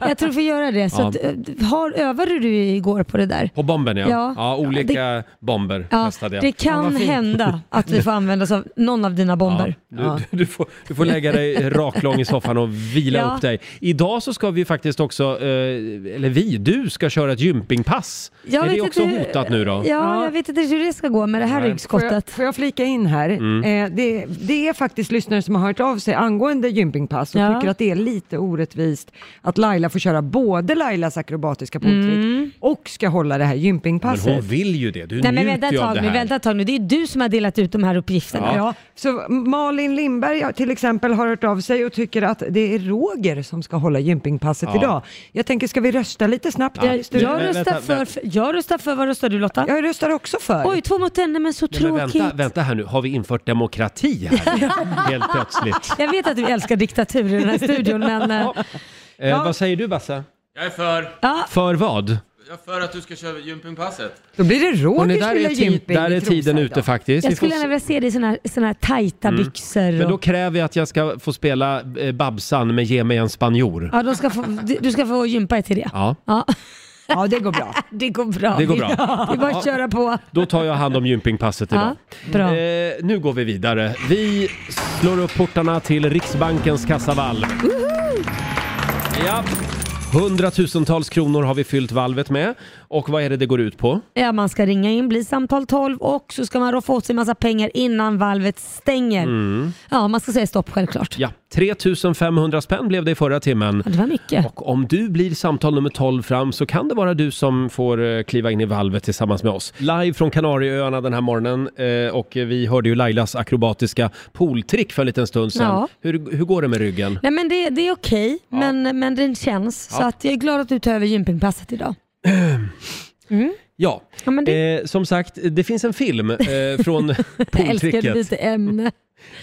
S2: jag tror får göra det. Så
S1: Ja.
S2: att, eh, har, övade du igår på det där?
S1: På bomben ja. Ja,
S2: Ja.
S1: olika
S2: Ja,
S1: bomber
S2: Ja,
S1: testade jag.
S2: det kan hända att vi får använda oss av någon av dina bomber.
S1: Ja, du, du, du, får, du får lägga dig raklång i soffan och vila
S2: Ja.
S1: upp dig. Idag så ska vi faktiskt också, eh, eller vi, du ska köra ett gympingpass.
S2: Jag
S1: är det
S2: vet
S1: också
S2: inte hur-
S1: hotat nu då?
S2: Ja, jag vet inte hur det ska gå med det här
S3: Får jag,
S2: ryggskottet.
S3: får jag flika in här?
S1: Mm.
S3: Eh, det, det är faktiskt lyssnare som har hört av sig angående gympingpass och
S2: Ja.
S3: tycker att det är lite orättvist att Laila får köra både Lailas akrobatiska pooltrick och ska hålla det här
S1: Men
S3: gympingpasset.
S1: hon vill ju det, du
S2: Mm. Nej men
S1: njuter
S2: vänta ett
S1: ju av
S2: tag
S1: det
S2: nu,
S1: här.
S2: vänta ett tag nu. Det är du som har delat ut de här uppgifterna.
S3: Ja. så Malin Lindberg ja, till exempel har hört av sig och tycker att det är Roger som ska hålla gympingpasset
S1: Ja.
S3: idag. Jag tänker, ska vi rösta lite snabbt här i studion?
S2: Jag,
S1: Men
S2: röstar
S1: vänta, vänta.
S2: för, jag röstar för, vad röstar du Lotta?
S3: Jag röstar också för.
S2: Oj, två mot en, nej men så
S1: Nej, men
S2: tråkigt.
S1: vänta, vänta här nu, har vi infört demokrati här? Helt plötsligt.
S2: Jag vet att du älskar diktatur i den här studion men... eh,
S1: Eh, Vad säger du Bassa?
S10: Jag är för,
S2: Ja,
S1: För vad?
S10: jag är för att du ska köra gympingpasset.
S3: Då blir det
S1: Och
S3: Roger
S1: nu,
S3: som
S1: där, är
S3: gillar
S1: tid,
S3: gymping
S1: där
S3: i
S1: är tiden
S3: Trosa
S1: ute
S3: idag.
S1: faktiskt. Vi
S2: jag
S1: får
S2: skulle
S1: se. Mm.
S2: gärna vilja se dig i såna här, såna här tajta byxor.
S1: Men då
S2: och,
S1: kräver jag att jag ska få spela eh, Babsan med Ge mig en spanjor.
S2: ja, de ska få, du du ska få gympa dig till det.
S1: Ja,
S2: Ja,
S3: Ja, det går bra.
S2: det går bra.
S1: det går bra.
S2: Det är bara att köra på.
S1: Då tar jag hand om gympingpasset idag.
S2: Ja, bra.
S1: Eh, nu går vi vidare. Vi slår upp portarna till Riksbankens kassavalv. Ja. Hundratusentals kronor har vi fyllt valvet med. Och vad är det det går ut på?
S2: Ja, man ska ringa in, bli samtal 12 och
S1: Mm.
S2: så ska man roffa åt sig massa pengar innan valvet stänger. Ja, man ska säga stopp självklart.
S1: Ja, 3500 spänn blev det i förra timmen.
S2: Det var mycket.
S1: Och om du blir samtal nummer 12 fram så kan det vara du som får eh, kliva in i valvet tillsammans med oss. Live från Kanarieöarna den här morgonen eh, och vi hörde ju Lailas akrobatiska pooltrick för en liten stund sedan.
S2: Ja.
S1: Hur, hur går det med ryggen?
S2: Nej men det, det är okej, men, men den känns. Så
S1: Ja.
S2: att jag är glad att du tar över gympingpasset idag. Mm.
S1: Ja,
S2: Ja, men
S1: eh, som sagt, det finns en film eh, från
S2: Jag älskar att
S1: pooltricket.
S2: byta ämne.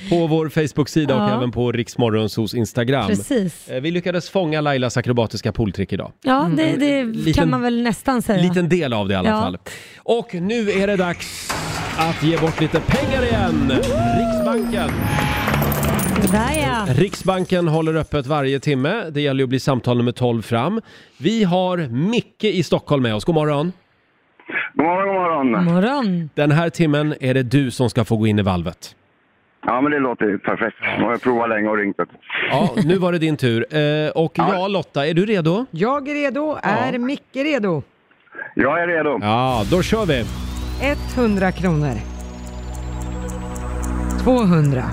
S1: På vår Facebook-sida och
S2: Ja.
S1: även på Riksmorgonsos Instagram.
S2: Precis.
S1: Eh, Vi lyckades fånga Lailas akrobatiska pooltrick idag.
S2: Ja, det, det
S1: Mm. Liten-
S2: kan man väl nästan säga.
S1: Liten del av det i alla
S2: Ja.
S1: fall. Och nu är det dags att ge bort lite pengar igen! Riksbanken!
S2: Där ja.
S1: Riksbanken håller öppet varje timme. Det gäller ju att bli samtal nummer 12 fram. Vi har Micke i Stockholm med oss. God morgon!
S11: God morgon, god morgon.
S2: morgon!
S1: Den här timmen är det du som ska få gå in i valvet.
S11: Ja, men det låter ju perfekt. Nu har jag provat länge och ringt. upp.
S1: Ja, nu var det din tur. Eh, Och ja, Lotta, är du redo?
S3: Jag är redo. Är Micke redo?
S1: Jag är redo. Ja, då kör vi!
S3: 100 kronor. 200.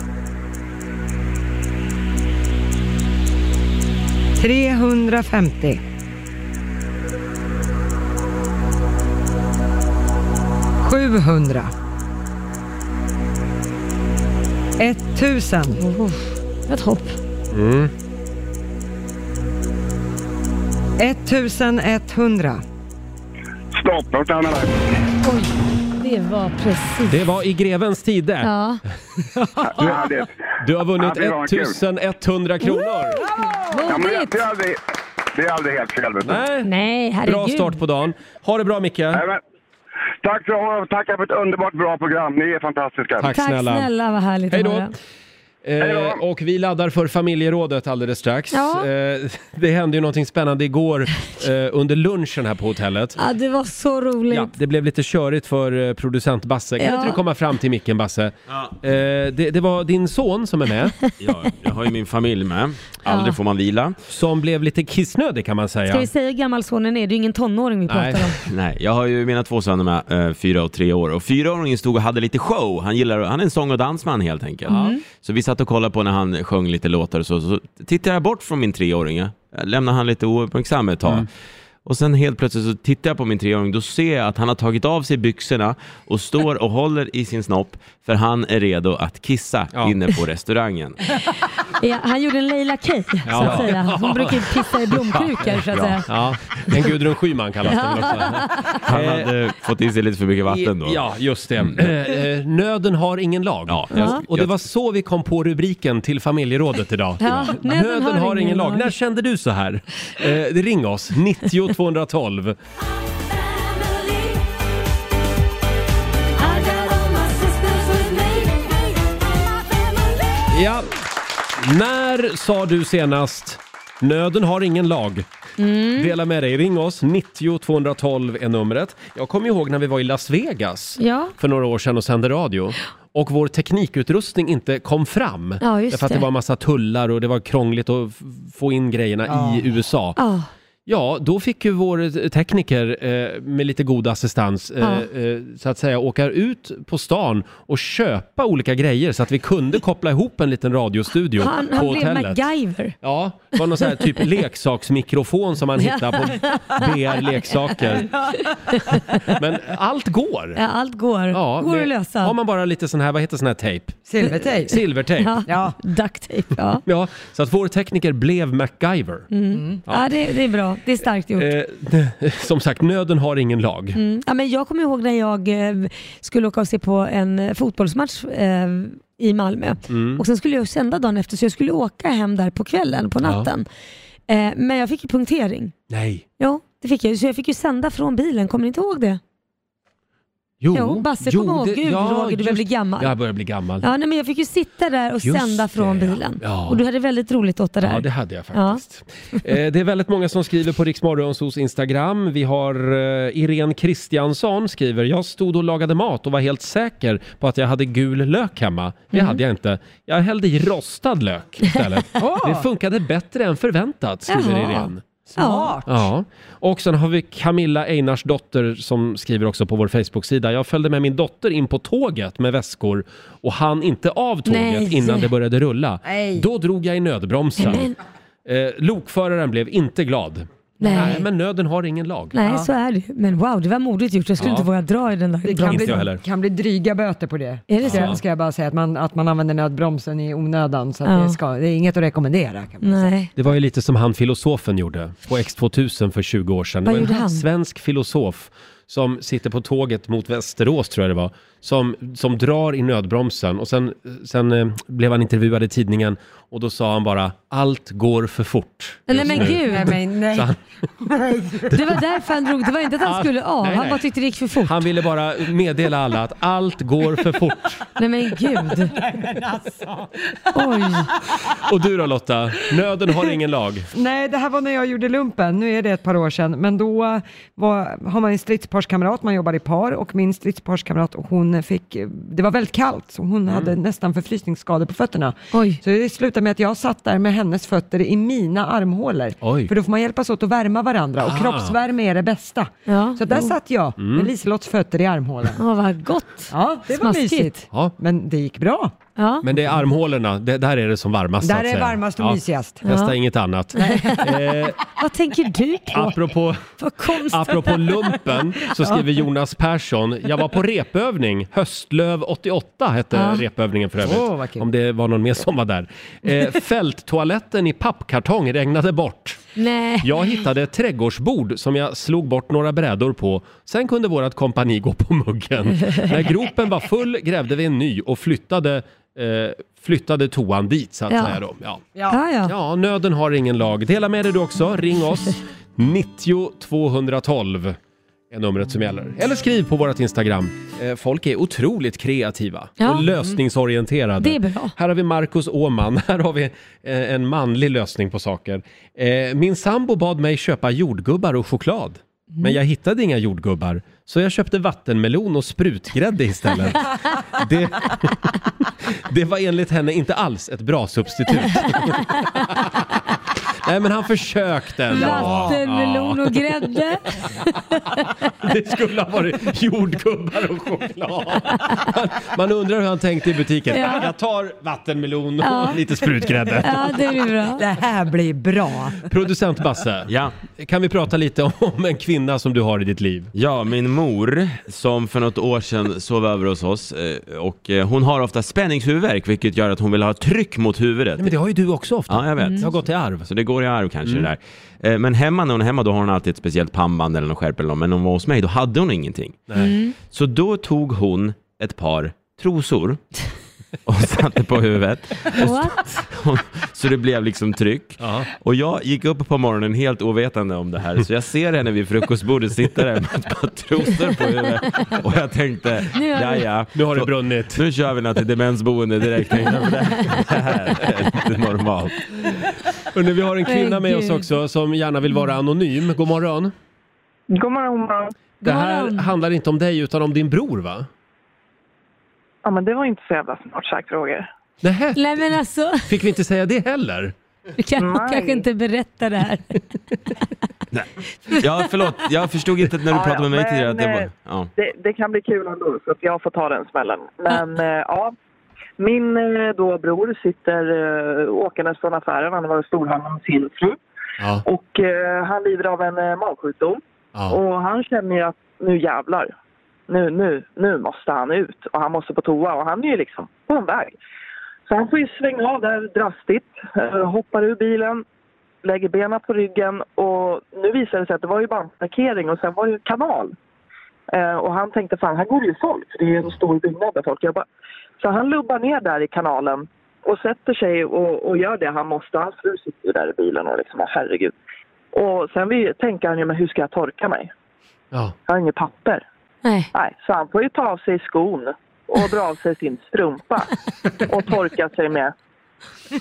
S3: 350. 700. 1000.
S2: Ett hopp.
S1: Mm.
S3: 1100.
S11: Stopp, jag stannar där.
S2: Oj, det var precis.
S1: Det var i grevens tid det.
S2: Ja.
S1: Du har vunnit
S11: Ja, det var kul.
S1: 1100 kronor.
S11: Ja, men det, det, är aldrig, det är aldrig helt fel. vet du.
S1: Nej.
S2: Nej, herregud.
S1: Bra start på dagen. Ha det bra Micke.
S11: Nej, men, tack för att tacka för ett underbart bra program. Ni är fantastiska.
S1: Tack
S2: Tack snälla.
S1: snälla.
S2: vad härligt
S1: Hej då.
S2: att höra.
S1: Eh, och vi laddar för familjerådet alldeles strax.
S2: Ja.
S1: Eh, det hände ju någonting spännande igår eh, under lunchen här på hotellet.
S2: Ja, det var så roligt.
S1: Ja, det blev lite körigt för eh, producent Basse. Kan
S2: Ja.
S1: inte du komma fram till micken Basse? Eh, det, det var din son som är med. Ja, jag har ju min familj med.
S2: Aldrig Ja. får
S1: man vila. Som blev lite kissnödig kan man säga.
S2: Ska vi säga hur gammal sonen är? Det är ju ingen tonåring vi pratar om.
S9: Nej, jag har ju mina två söner med, eh, fyra och tre år. Och fyraåringen stod och hade lite show. Han, gillar, han är en sång och dansman helt enkelt.
S2: Mm.
S9: Så vi satt och kollade på när han sjöng lite låtar och så. Så tittade jag bort från min treåring. Jag lämnade han lite ouppmärksam ett
S1: Mm.
S9: tag. Och sen helt plötsligt så tittar jag på min treåring, då ser jag att han har tagit av sig byxorna och står och håller i sin snopp för han är redo att kissa inne på restaurangen.
S2: Ja, han gjorde en Leila Kay, så
S9: Ja.
S2: att säga. Hon brukar ju pissa i blomkrukor, så att säga.
S1: Ja, en Gudrun Schyman kallas den väl också. Eh,
S9: Han
S2: Eh,
S9: hade fått i sig lite för mycket vatten då. Mm.
S1: Ja, just det. Eh, eh, Nöden har ingen lag.
S9: jag-
S1: och det var så vi kom på rubriken till familjerådet idag.
S2: Ja, nöden
S1: har, ingen lag. När kände du så här? Eh, ring oss, 90 212. Ja. När sa du senast Nöden har ingen lag?
S2: Mm.
S1: Dela med dig. Ring oss. 90 212 är numret. Jag kommer ihåg när vi var i Las Vegas
S2: Ja.
S1: för några år sedan och sände radio. Och vår teknikutrustning inte kom fram.
S2: Ja, just
S1: därför att det
S2: det.
S1: var en massa tullar och det var krångligt att f- få in grejerna
S2: Ja.
S1: i USA.
S2: Ja.
S1: Ja, då fick ju vår tekniker eh, med lite god assistans eh,
S2: Ja.
S1: eh, så att säga åka ut på stan och köpa olika grejer så att vi kunde koppla ihop en liten radiostudio
S2: Han,
S1: på
S2: han blev
S1: hotellet.
S2: MacGyver.
S1: Ja, det var någon sån här typ leksaksmikrofon som man hittade på BR Leksaker. Men allt går.
S2: Ja, allt går.
S1: Ja,
S2: går
S1: med-
S2: att lösa.
S1: Har man bara lite sån här, vad heter sån här tejp?
S3: Silvertejp.
S1: Silvertejp.
S2: Ja, duct tape. Ja.
S1: Ja, så att vår tekniker blev MacGyver.
S2: Mm. Ja.
S1: Ja.
S2: det, det är bra. Det är starkt gjort.
S1: Eh, som sagt, nöden har ingen lag.
S2: Mm. Ja, men jag kommer ihåg när jag eh, skulle åka och se på en eh, fotbollsmatch eh, i Malmö.
S1: Mm.
S2: Och sen skulle jag sända dagen efter så jag skulle åka hem där på kvällen, på
S1: Ja.
S2: natten. Eh, men jag fick ju punktering.
S1: Nej.
S2: Ja, det fick jag ju. Så jag fick ju sända från bilen. Kommer ni inte ihåg det? Jo, Basse, kom ihåg. Gud, Roger, du börjar bli gammal.
S1: Jag börjar bli gammal.
S2: Ja, nej, men jag fick ju sitta där och
S1: Just
S2: sända från bilen.
S1: Ja.
S2: Och du hade väldigt roligt åt det där.
S1: Ja, det hade jag faktiskt. Eh, det är väldigt många som skriver på Riksmorgonsos Instagram. Vi har eh, Irene Kristiansson skriver, jag stod och lagade mat och var helt säker på att jag hade gul lök hemma. Det
S2: Mm.
S1: hade jag inte. Jag hällde i rostad lök istället.
S2: Åh!
S1: Det funkade bättre än förväntat, skriver
S2: Jaha.
S1: Irene.
S2: Smart.
S1: Ja. Och sen har vi Camilla Einars dotter som skriver också på vår Facebook-sida. Jag följde med min dotter in på tåget med väskor och han inte av tåget
S5: Nej.
S1: innan det började rulla.
S5: Nej.
S1: Då drog jag i nödbromsen. Eh, lokföraren blev inte glad.
S2: Nej.
S1: men nöden har ingen lag.
S2: Nej, så är det ju. Men wow, det var modigt gjort. Jag skulle
S1: Ja.
S2: inte våga dra i den där
S1: Det kan
S2: bromsen.
S1: bli- Inte jag heller.
S3: kan bli dryga böter på det.
S2: Är det
S3: ska,
S2: så?
S3: ska jag bara säga att man, att man använder nödbromsen i onödan. Så att
S2: Ja.
S3: det, ska, det är inget att rekommendera. Kan man.
S2: Nej.
S1: Det var ju lite som han filosofen gjorde på X2000 för 20 år sedan. Det
S3: Vad
S1: var en
S3: gjorde han?
S1: svensk filosof som sitter på tåget mot Västerås tror jag det var, som, som drar i nödbromsen och sen, sen eh, blev han intervjuad i tidningen och då sa han bara allt går för fort.
S2: Nej
S1: just
S2: men
S1: nu."
S2: gud! Nej, men,
S1: Så han,
S2: Det var därför han drog, det var inte att han skulle av,
S1: nej,
S2: han
S1: nej.
S2: bara tyckte det gick för fort.
S1: han ville bara meddela alla att allt går för fort.
S2: Nej men gud!
S3: alltså.
S2: Oj!
S1: Och du då Lotta, nöden har ingen lag.
S3: Nej, det här var när jag gjorde lumpen. Nu är det ett par år sedan. Men då var, har man en stridsparskamrat, man jobbar i par och min stridsparskamrat, hon fick, det var väldigt kallt så hon hade nästan förfrysningsskador på fötterna. Så det slutade med att jag satt där med hennes fötter i mina armhålor.
S5: Oj.
S3: För då får man hjälpas åt att värma varandra och
S5: Ah.
S3: kroppsvärme är det bästa. Så där
S5: Jo.
S3: satt jag
S5: Mm.
S3: med Liselotts fötter i armhålan.
S2: Ja, vad gott!
S3: Ja, det var
S2: Smaskigt.
S3: mysigt.
S1: Ja.
S3: Men det gick bra.
S2: Ja.
S1: Men det är armhålorna, det, där är det som varmast.
S3: Där
S1: så att
S3: är
S1: säga.
S3: varmast och mysigast.
S1: Testa
S3: Ja.
S1: inget annat. Eh,
S2: Vad tänker du på?
S1: Apropå,
S2: Vad konstigt.
S1: apropå lumpen så skriver
S2: Ja.
S1: Jonas Persson, jag var på repövning, Höstlöv 88 hette
S5: Ja.
S1: repövningen för övrigt.
S5: Åh, vad kul.
S1: om det var någon mer som var där. Eh, fälttoaletten i pappkartong regnade bort.
S2: Nej.
S1: Jag hittade ett trädgårdsbord som jag slog bort några brädor på. Sen kunde vårt kompani gå på muggen. När gropen var full grävde vi en ny och flyttade, eh, flyttade toan dit så att
S5: Ja.
S1: säga. Då. Ja.
S2: Ja, ja.
S1: Ja, nöden har ingen lag. Dela med dig du också. Ring oss. 90 212 är numret som gäller. Eller skriv på vårt Instagram. Eh, Folk är otroligt kreativa
S2: Ja.
S1: och lösningsorienterade.
S2: Det är bra.
S1: Här har vi Marcus Åman. Här har vi eh, en manlig lösning på saker. Eh, Min sambo bad mig köpa jordgubbar och choklad.
S2: Mm.
S1: Men jag hittade inga jordgubbar, så jag köpte vattenmelon och sprutgrädde istället. Det, det var enligt henne inte alls ett bra substitut. Nej, men han försökte ändå.
S2: Vattenmelon och grädde.
S1: Det skulle ha varit jordgubbar och choklad. Man, man undrar hur han tänkte i butiken.
S5: Ja.
S1: Jag tar vattenmelon och
S5: Ja.
S1: lite sprutgrädde.
S2: blir bra.
S3: Det här blir bra.
S1: Producent Basse, kan vi prata lite om en kvinna som du har i ditt liv?
S9: Ja, min mor som för något år sedan sov över hos oss eh, och eh, hon har ofta spänningshuvudvärk vilket gör att hon vill ha tryck mot huvudet.
S1: Nej, men det har ju du också ofta.
S9: Ja, jag vet.
S1: Mm. Det har gått i arv.
S9: Så det går i arv kanske
S1: Mm.
S9: det där. Eh, Men hemma när hon är hemma då har hon alltid ett speciellt pannband eller någon skärp eller något. Men när hon var hos mig då hade hon ingenting.
S1: Mm.
S9: Så då tog hon ett par trosor och satte på huvudet.
S2: What?
S9: Så det blev liksom tryck. Och jag gick upp på morgonen helt ovetande om det här. Så jag ser henne vid frukostbordet sitta där med ett par trosor på huvudet. Och jag tänkte,
S5: Nu har
S9: ja
S5: det-
S9: ja.
S1: Nu har det brunnit.
S9: Nu kör vi något till demensboende direkt. tänkte jag, för Det det här är inte normalt.
S1: Och nu, vi har en kvinna
S5: Men
S1: med oss
S5: gud.
S1: också som gärna vill vara anonym. God morgon.
S7: God morgon, god morgon.
S1: Eh, Det här handlar inte om dig utan om din bror va?
S7: Ja, men det var inte så jävla smart sagt, Roger.
S1: Nähä,
S2: Nej men alltså,
S1: fick vi inte säga det heller?
S2: du kan
S7: Nej.
S2: kanske inte berätta det här.
S9: Ja, förlåt. Jag förstod inte när du
S7: Ja,
S9: pratade
S7: ja,
S9: med mig
S7: men,
S9: tidigare att det var...
S7: eh,
S9: Ja.
S7: Det, det kan bli kul ändå, så att jag får ta den smällen. Men eh, ja, min eh, då bror sitter eh, åkandes från affären. Han var i storhandeln med sin fru.
S1: Ja.
S7: Och eh, han lider av en eh, magsjukdom.
S1: Ja.
S7: Och han känner ju att nu jävlar. Nu, nu, nu måste han ut och han måste på toa och han är ju liksom på en väg. Så han får ju svänga av där drastigt, eh, hoppar ur bilen, lägger benen på ryggen och nu visar det sig att det var ju bara en parkering och sen var det ju en kanal. Eh, och han tänkte fan här går det ju folk, för det är ju en stor byggnad där folk jobbar. Så han lubbar ner där i kanalen och sätter sig och, och gör det han måste. Hans fru sitter ju där i bilen och liksom, herregud. Och sen vi, tänker han ju, men hur ska jag torka mig?
S1: Ja.
S7: Jag har inget papper.
S2: Nej.
S7: så han får ju ta av sig skon och dra av sig sin strumpa och torka sig med.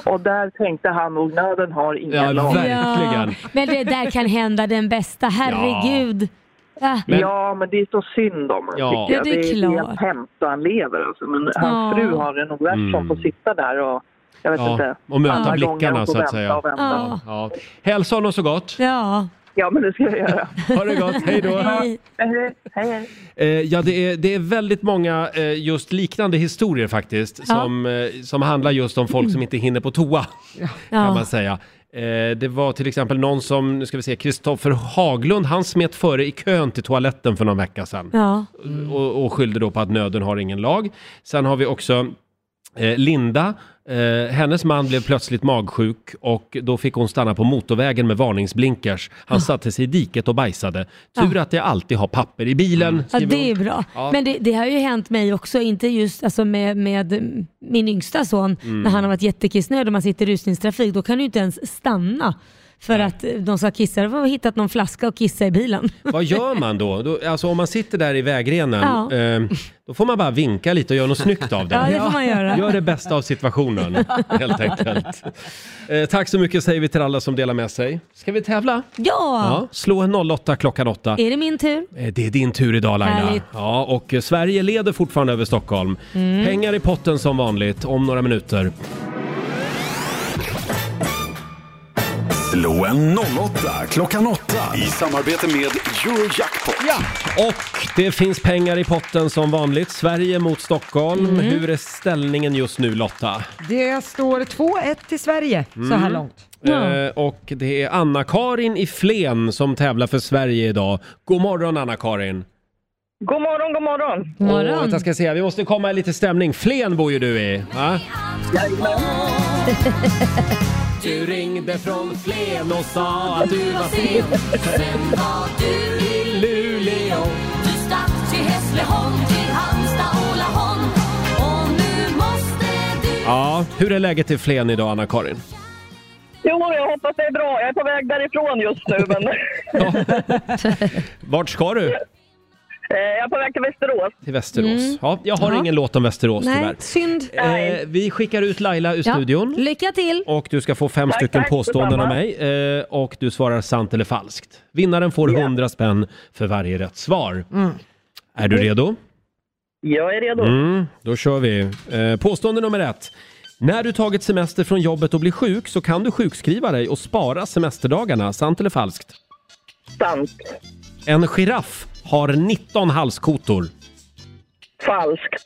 S7: Och där tänkte han nog, nöden har ingen
S1: Ja,
S7: lag.
S1: verkligen.
S2: Ja, men det där kan hända den bästa, herregud. Ah. Ja.
S7: Men... Ja, men det är så synd om honom.
S2: Ja.
S7: tycker jag.
S2: Ja, det är
S7: det
S2: klart.
S7: är hemskt att han lever. Alltså. Men
S2: Ja.
S7: hans fru har det nog värst som får sitta där och Jag vet
S1: Mm. Ja,
S7: inte.
S1: och möta
S7: Alla gånger
S1: blickarna,
S7: och få
S1: så att
S7: vänta
S1: säga.
S7: och vänta.
S2: Ja.
S1: Ja. Hälsa honom så gott.
S2: Ja.
S7: Ja, men det ska jag göra.
S1: Ha det gott, hej då.
S2: Hej.
S7: Hej, hej.
S1: Eh, ja, det är, det är väldigt många eh, just liknande historier faktiskt
S2: Ja.
S1: som, eh, som handlar just om folk som inte hinner på toa, kan man säga. Eh, det var till exempel någon som, nu ska vi se, Kristoffer Haglund, han smet före i kön till toaletten för någon vecka sedan.
S2: Ja.
S1: och, och skyllde då på att nöden har ingen lag. Sen har vi också eh, Linda. Eh, hennes man blev plötsligt magsjuk och då fick hon stanna på motorvägen med varningsblinkers.
S2: Ah.
S1: Han satte sig i diket och bajsade. Tur att jag alltid har papper i bilen.
S2: Mm. Ja,
S1: skriver
S2: det är
S1: hon.
S2: bra.
S1: Ja.
S2: Men det, det har ju hänt mig också, inte just alltså med, med min yngsta son,
S1: Mm.
S2: när han har varit jättekissnödig och man sitter i rusningstrafik, då kan du inte ens stanna för att de ska kissa. De har hittat någon flaska och kissa i bilen.
S1: Vad gör man då? då? Alltså om man sitter där i vägrenen,
S2: Ja.
S1: eh, då får man bara vinka lite och göra något snyggt av det.
S2: Ja, det får man göra.
S1: Gör det bästa av situationen, helt enkelt. Eh, tack så mycket säger vi till alla som delar med sig. Ska vi tävla?
S2: Ja!
S1: Ja, slå en 08 klockan 8.
S2: Är det min tur?
S1: Eh, Det är din tur idag Laila.
S2: Härligt.
S1: Ja, och eh, Sverige leder fortfarande över Stockholm.
S2: Mm.
S1: Pengar i potten som vanligt om några minuter.
S4: Slå en 08 klockan 8 i samarbete med Eurojackpot. Ja.
S1: Och det finns pengar i potten som vanligt. Sverige mot Stockholm.
S3: Mm.
S1: Hur är ställningen just nu Lotta?
S3: Det står 2-1 till Sverige så här
S1: Mm.
S3: långt.
S1: Eh, och det är Anna-Karin i Flen som tävlar för Sverige idag. God morgon Anna-Karin!
S12: God morgon, god morgon.
S1: Åh, vänta, ska jag säga. Vi måste komma i lite stämning. Flen bor ju du i. Va? Du ringde från Flen och sa att du var sen. Sen var du i Luleå.
S5: Du stack till Hässleholm, till Halmstad, Ålaholm och nu måste du...
S1: Ja, hur är läget i Flen idag Anna-Karin?
S12: Jo, jag hoppas det är bra. Jag är på väg därifrån just nu, men
S1: Vart ska du?
S12: eh, jag är på väg till Västerås.
S1: Till Västerås.
S2: Mm.
S1: Ja, jag har
S2: Ja.
S1: ingen låt om Västerås
S2: Nej,
S1: tyvärr.
S2: synd.
S1: Eh, vi skickar ut Laila ur studion.
S2: Lycka till!
S1: Och du ska få fem
S2: Tack,
S1: stycken
S2: tack,
S1: påståenden av
S2: detsamma.
S1: mig eh, och du svarar sant eller falskt. Vinnaren får 100 spänn för varje rätt svar.
S12: Mm.
S1: Är
S2: Mm.
S1: du redo?
S12: Jag är redo.
S1: Mm, då kör vi. Eh, påstående nummer ett. När du tagit semester från jobbet och blir sjuk så kan du sjukskriva dig och spara semesterdagarna. Sant eller falskt?
S12: Sant.
S1: En giraff har 19 halskotor.
S12: Falskt.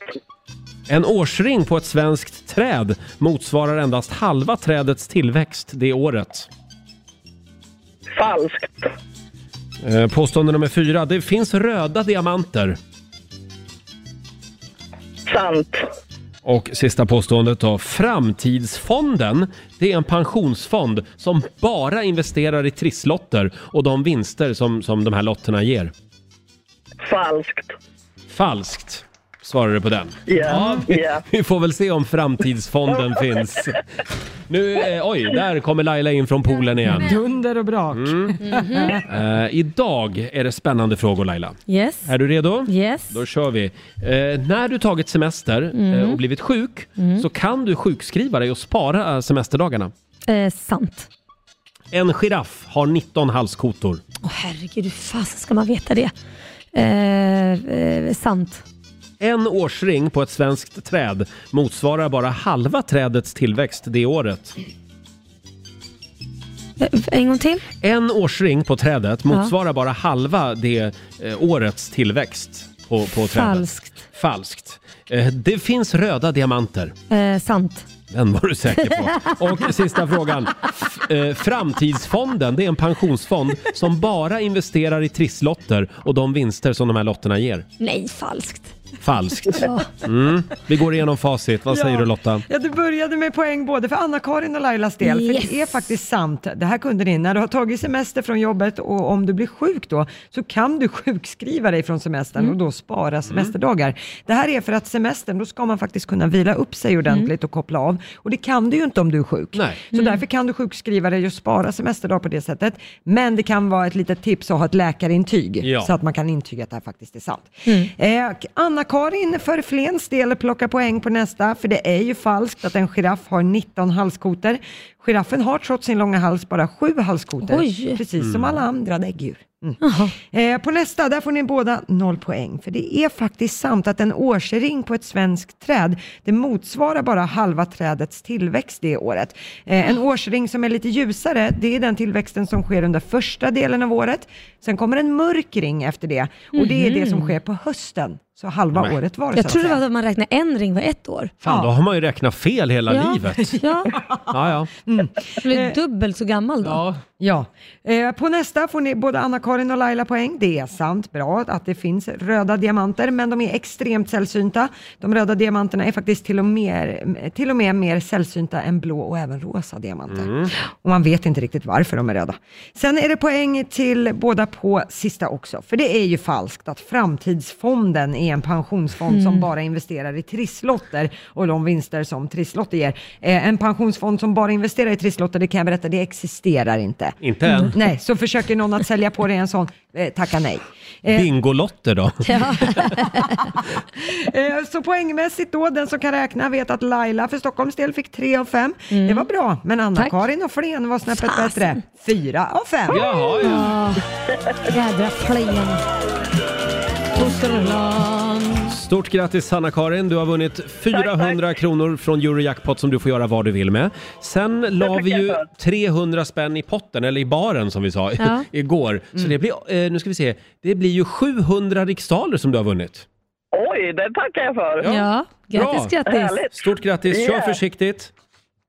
S1: En årsring på ett svenskt träd motsvarar endast halva trädets tillväxt det året.
S12: Falskt.
S1: Eh, Påstående nummer fyra. Det finns röda diamanter.
S12: Sant.
S1: Och sista påståendet då. Framtidsfonden, det är en pensionsfond som bara investerar i trisslotter och de vinster som, som de här lotterna ger.
S12: Falskt.
S1: Falskt, svarar du på den.
S12: Ja. ja.
S1: Vi får väl se om framtidsfonden finns. Nu, eh, oj, där kommer Laila in från poolen igen. Mm.
S3: Dunder och brak.
S2: Mhm.
S1: Eh, idag är det spännande frågor Laila.
S2: Yes.
S1: Är du redo?
S2: Yes.
S1: Då kör vi. Eh, när du tagit semester
S2: Mm.
S1: eh, och blivit sjuk så kan du sjukskriva dig och spara eh, semesterdagarna.
S2: Eh, sant.
S1: En giraff har 19 halskotor.
S2: Åh herregud, hur fasen ska man veta det? Eh, eh, sant.
S1: En årsring på ett svenskt träd motsvarar bara halva trädets tillväxt det året.
S2: Eh, En gång till?
S1: En årsring på trädet
S2: Ja.
S1: motsvarar bara halva det eh, årets tillväxt på, på trädet.
S2: Falskt.
S1: Falskt. Eh, det finns röda diamanter.
S2: Eh, sant.
S1: Den var du säker på. Och sista frågan. F- eh, framtidsfonden, det är en pensionsfond som bara investerar i trisslotter och de vinster som de här lotterna ger.
S2: Nej, falskt.
S1: Falskt.
S2: Ja.
S1: Mm. Vi går igenom facit. Vad säger
S3: Ja.
S1: du Lotta?
S3: Ja, du började med poäng både för Anna-Karin och Lailas del, för det är faktiskt sant. Det här kunde ni. När du har tagit semester från jobbet och om du blir sjuk då, så kan du sjukskriva dig från semestern och då spara semesterdagar. Det här är för att semestern, då ska man faktiskt kunna vila upp sig ordentligt och koppla av. Och det kan du ju inte om du är sjuk. Så därför kan du sjukskriva dig och spara semesterdagar på det sättet. Men det kan vara ett litet tips att ha ett läkarintyg,
S5: Ja.
S3: så att man kan intyga att det här faktiskt är sant. Eh, Anna-Karin för Flens del plockar poäng på nästa, för det är ju falskt att en giraff har 19 halskotor. Giraffen har trots sin långa hals bara 7 halskotor,
S2: Oj.
S3: precis som
S2: Mm.
S3: alla andra däggdjur. Mm. Eh, på nästa, där får ni båda noll poäng. För det är faktiskt sant att en årsring på ett svenskt träd, det motsvarar bara halva trädets tillväxt det året. Eh,
S2: Ah.
S3: en årsring som är lite ljusare, det är den tillväxten som sker under första delen av året. Sen kommer en mörk ring efter det och det är det som
S2: Mhm.
S3: sker på hösten. Så halva
S1: Nej.
S3: året var
S2: Jag trodde det var att man räknade en ring var ett år.
S1: Fan, då har man ju räknat fel hela
S2: ja.
S1: livet.
S2: Ja.
S1: Ja, ja.
S2: Jag blev Mm. dubbelt så gammal då. Ja.
S3: Mm. Ja. Eh, på nästa får ni både Anna-Karin och Laila poäng. Det är sant, bra att det finns röda diamanter, men de är extremt sällsynta. De röda diamanterna är faktiskt till och med, till och med mer sällsynta än blå och även rosa diamanter. Och man vet inte riktigt varför de är röda. Sen är det poäng till båda på sista också, för det är ju falskt att Framtidsfonden är en pensionsfond som
S13: Mm.
S3: bara investerar i trisslotter och de vinster som trisslotter ger. Eh, en pensionsfond som bara investerar i trisslotter, det kan jag berätta, det existerar inte.
S1: Inte än.
S3: Mm. Nej, så försöker någon att sälja på dig en sån, eh, tacka nej. Eh,
S1: Bingolotter då?
S3: Eh, Så poängmässigt då, den som kan räkna vet att Laila för Stockholms del fick 3 av 5. Det var bra, men Anna-Karin och Flen var snäppet bättre. 4 av 5.
S1: Jaha,
S2: ja. Jädra Flen. Fosterland.
S1: Stort grattis Hanna-Karin, du har vunnit 400 kronor från Eurojackpot som du får göra vad du vill med. Sen la vi ju 300 spänn i potten, eller i baren som vi sa
S5: Ja.
S1: igår. Så
S12: Mm.
S1: det blir, eh, nu ska vi se, det blir ju 700 riksdaler som du har vunnit.
S12: Oj, det tackar jag för.
S2: Ja,
S1: Bra. Stort grattis, kör
S12: Yeah.
S1: försiktigt.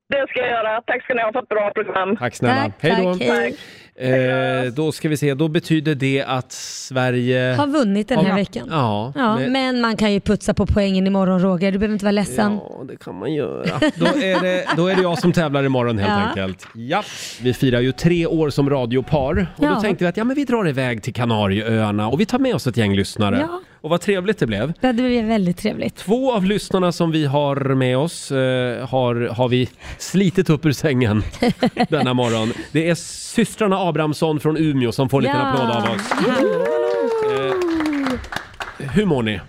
S12: Det ska jag göra. Tack ska ni ha för ett bra program.
S1: Tack snälla.
S12: Tack,
S1: hej då.
S12: tack, hej.
S1: Eh, då ska vi se, då betyder det att Sverige...
S2: Har vunnit den
S1: har-
S2: här veckan.
S1: Eh, Ja,
S2: Ja,
S1: med-
S2: men man kan ju putsa på poängen imorgon Roger, du behöver inte vara ledsen.
S1: Ja, det kan man göra. Då är det, då är det jag som tävlar imorgon helt
S2: Ja.
S1: enkelt. Ja. Vi firar ju tre år som radiopar och då
S2: Ja.
S1: tänkte vi att ja, men vi drar iväg till Kanarieöarna och vi tar med oss ett gäng lyssnare.
S2: Ja.
S1: Och vad trevligt det blev.
S2: Det hade blivit väldigt trevligt.
S1: Två av lyssnarna som vi har med oss eh, har, har vi slitit upp ur sängen denna morgon. Det är systrarna Abrahamsson från Umeå som får en liten
S14: Ja.
S1: applåd av oss. Eh, hur mår ni?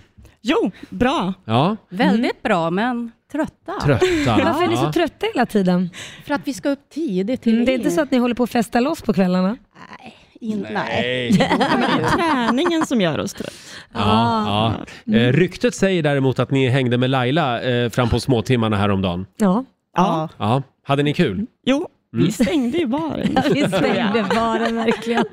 S14: Jo, bra.
S1: Ja,
S2: Mm.
S14: Väldigt bra, men trötta.
S1: Trötta.
S2: Varför är ni så
S1: Ja.
S2: trötta hela tiden?
S14: För att vi ska upp tidigt till
S2: Mm, det är
S14: er.
S2: inte så att ni håller på att festa loss på kvällarna?
S14: In,
S1: Nej.
S14: Ja, men det är träningen som gör oss trötta.
S1: Ja,
S2: Ah.
S1: ja.
S2: Mm.
S1: Eh, ryktet säger däremot att ni hängde med Laila eh, fram på småtimmarna häromdagen.
S2: Ja.
S14: ja.
S1: Ja, hade ni kul?
S14: Jo,
S1: Mm.
S14: vi stängde ju baren.
S2: Vi stängde baren verkligen.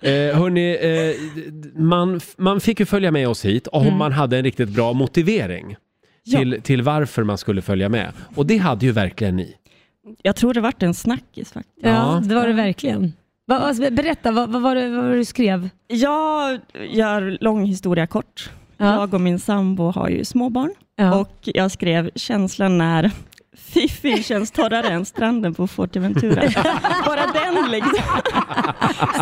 S1: Eh, hörni, eh, d- d- man, f- man fick ju följa med oss hit om man hade en riktigt bra motivering
S14: Mm. Ja.
S1: till, till varför man skulle följa med. Och det hade ju verkligen ni.
S14: Jag tror det vart en snackis faktiskt.
S1: Ja, Ja. det
S2: var det verkligen. Vad- alltså, berätta, vad, vad, var det, vad var det du skrev?
S14: Jag gör lång historia kort. Jag och min sambo har ju småbarn och jag skrev känslan när Fifi känns torrare än stranden på Forteventura. Bara den liksom.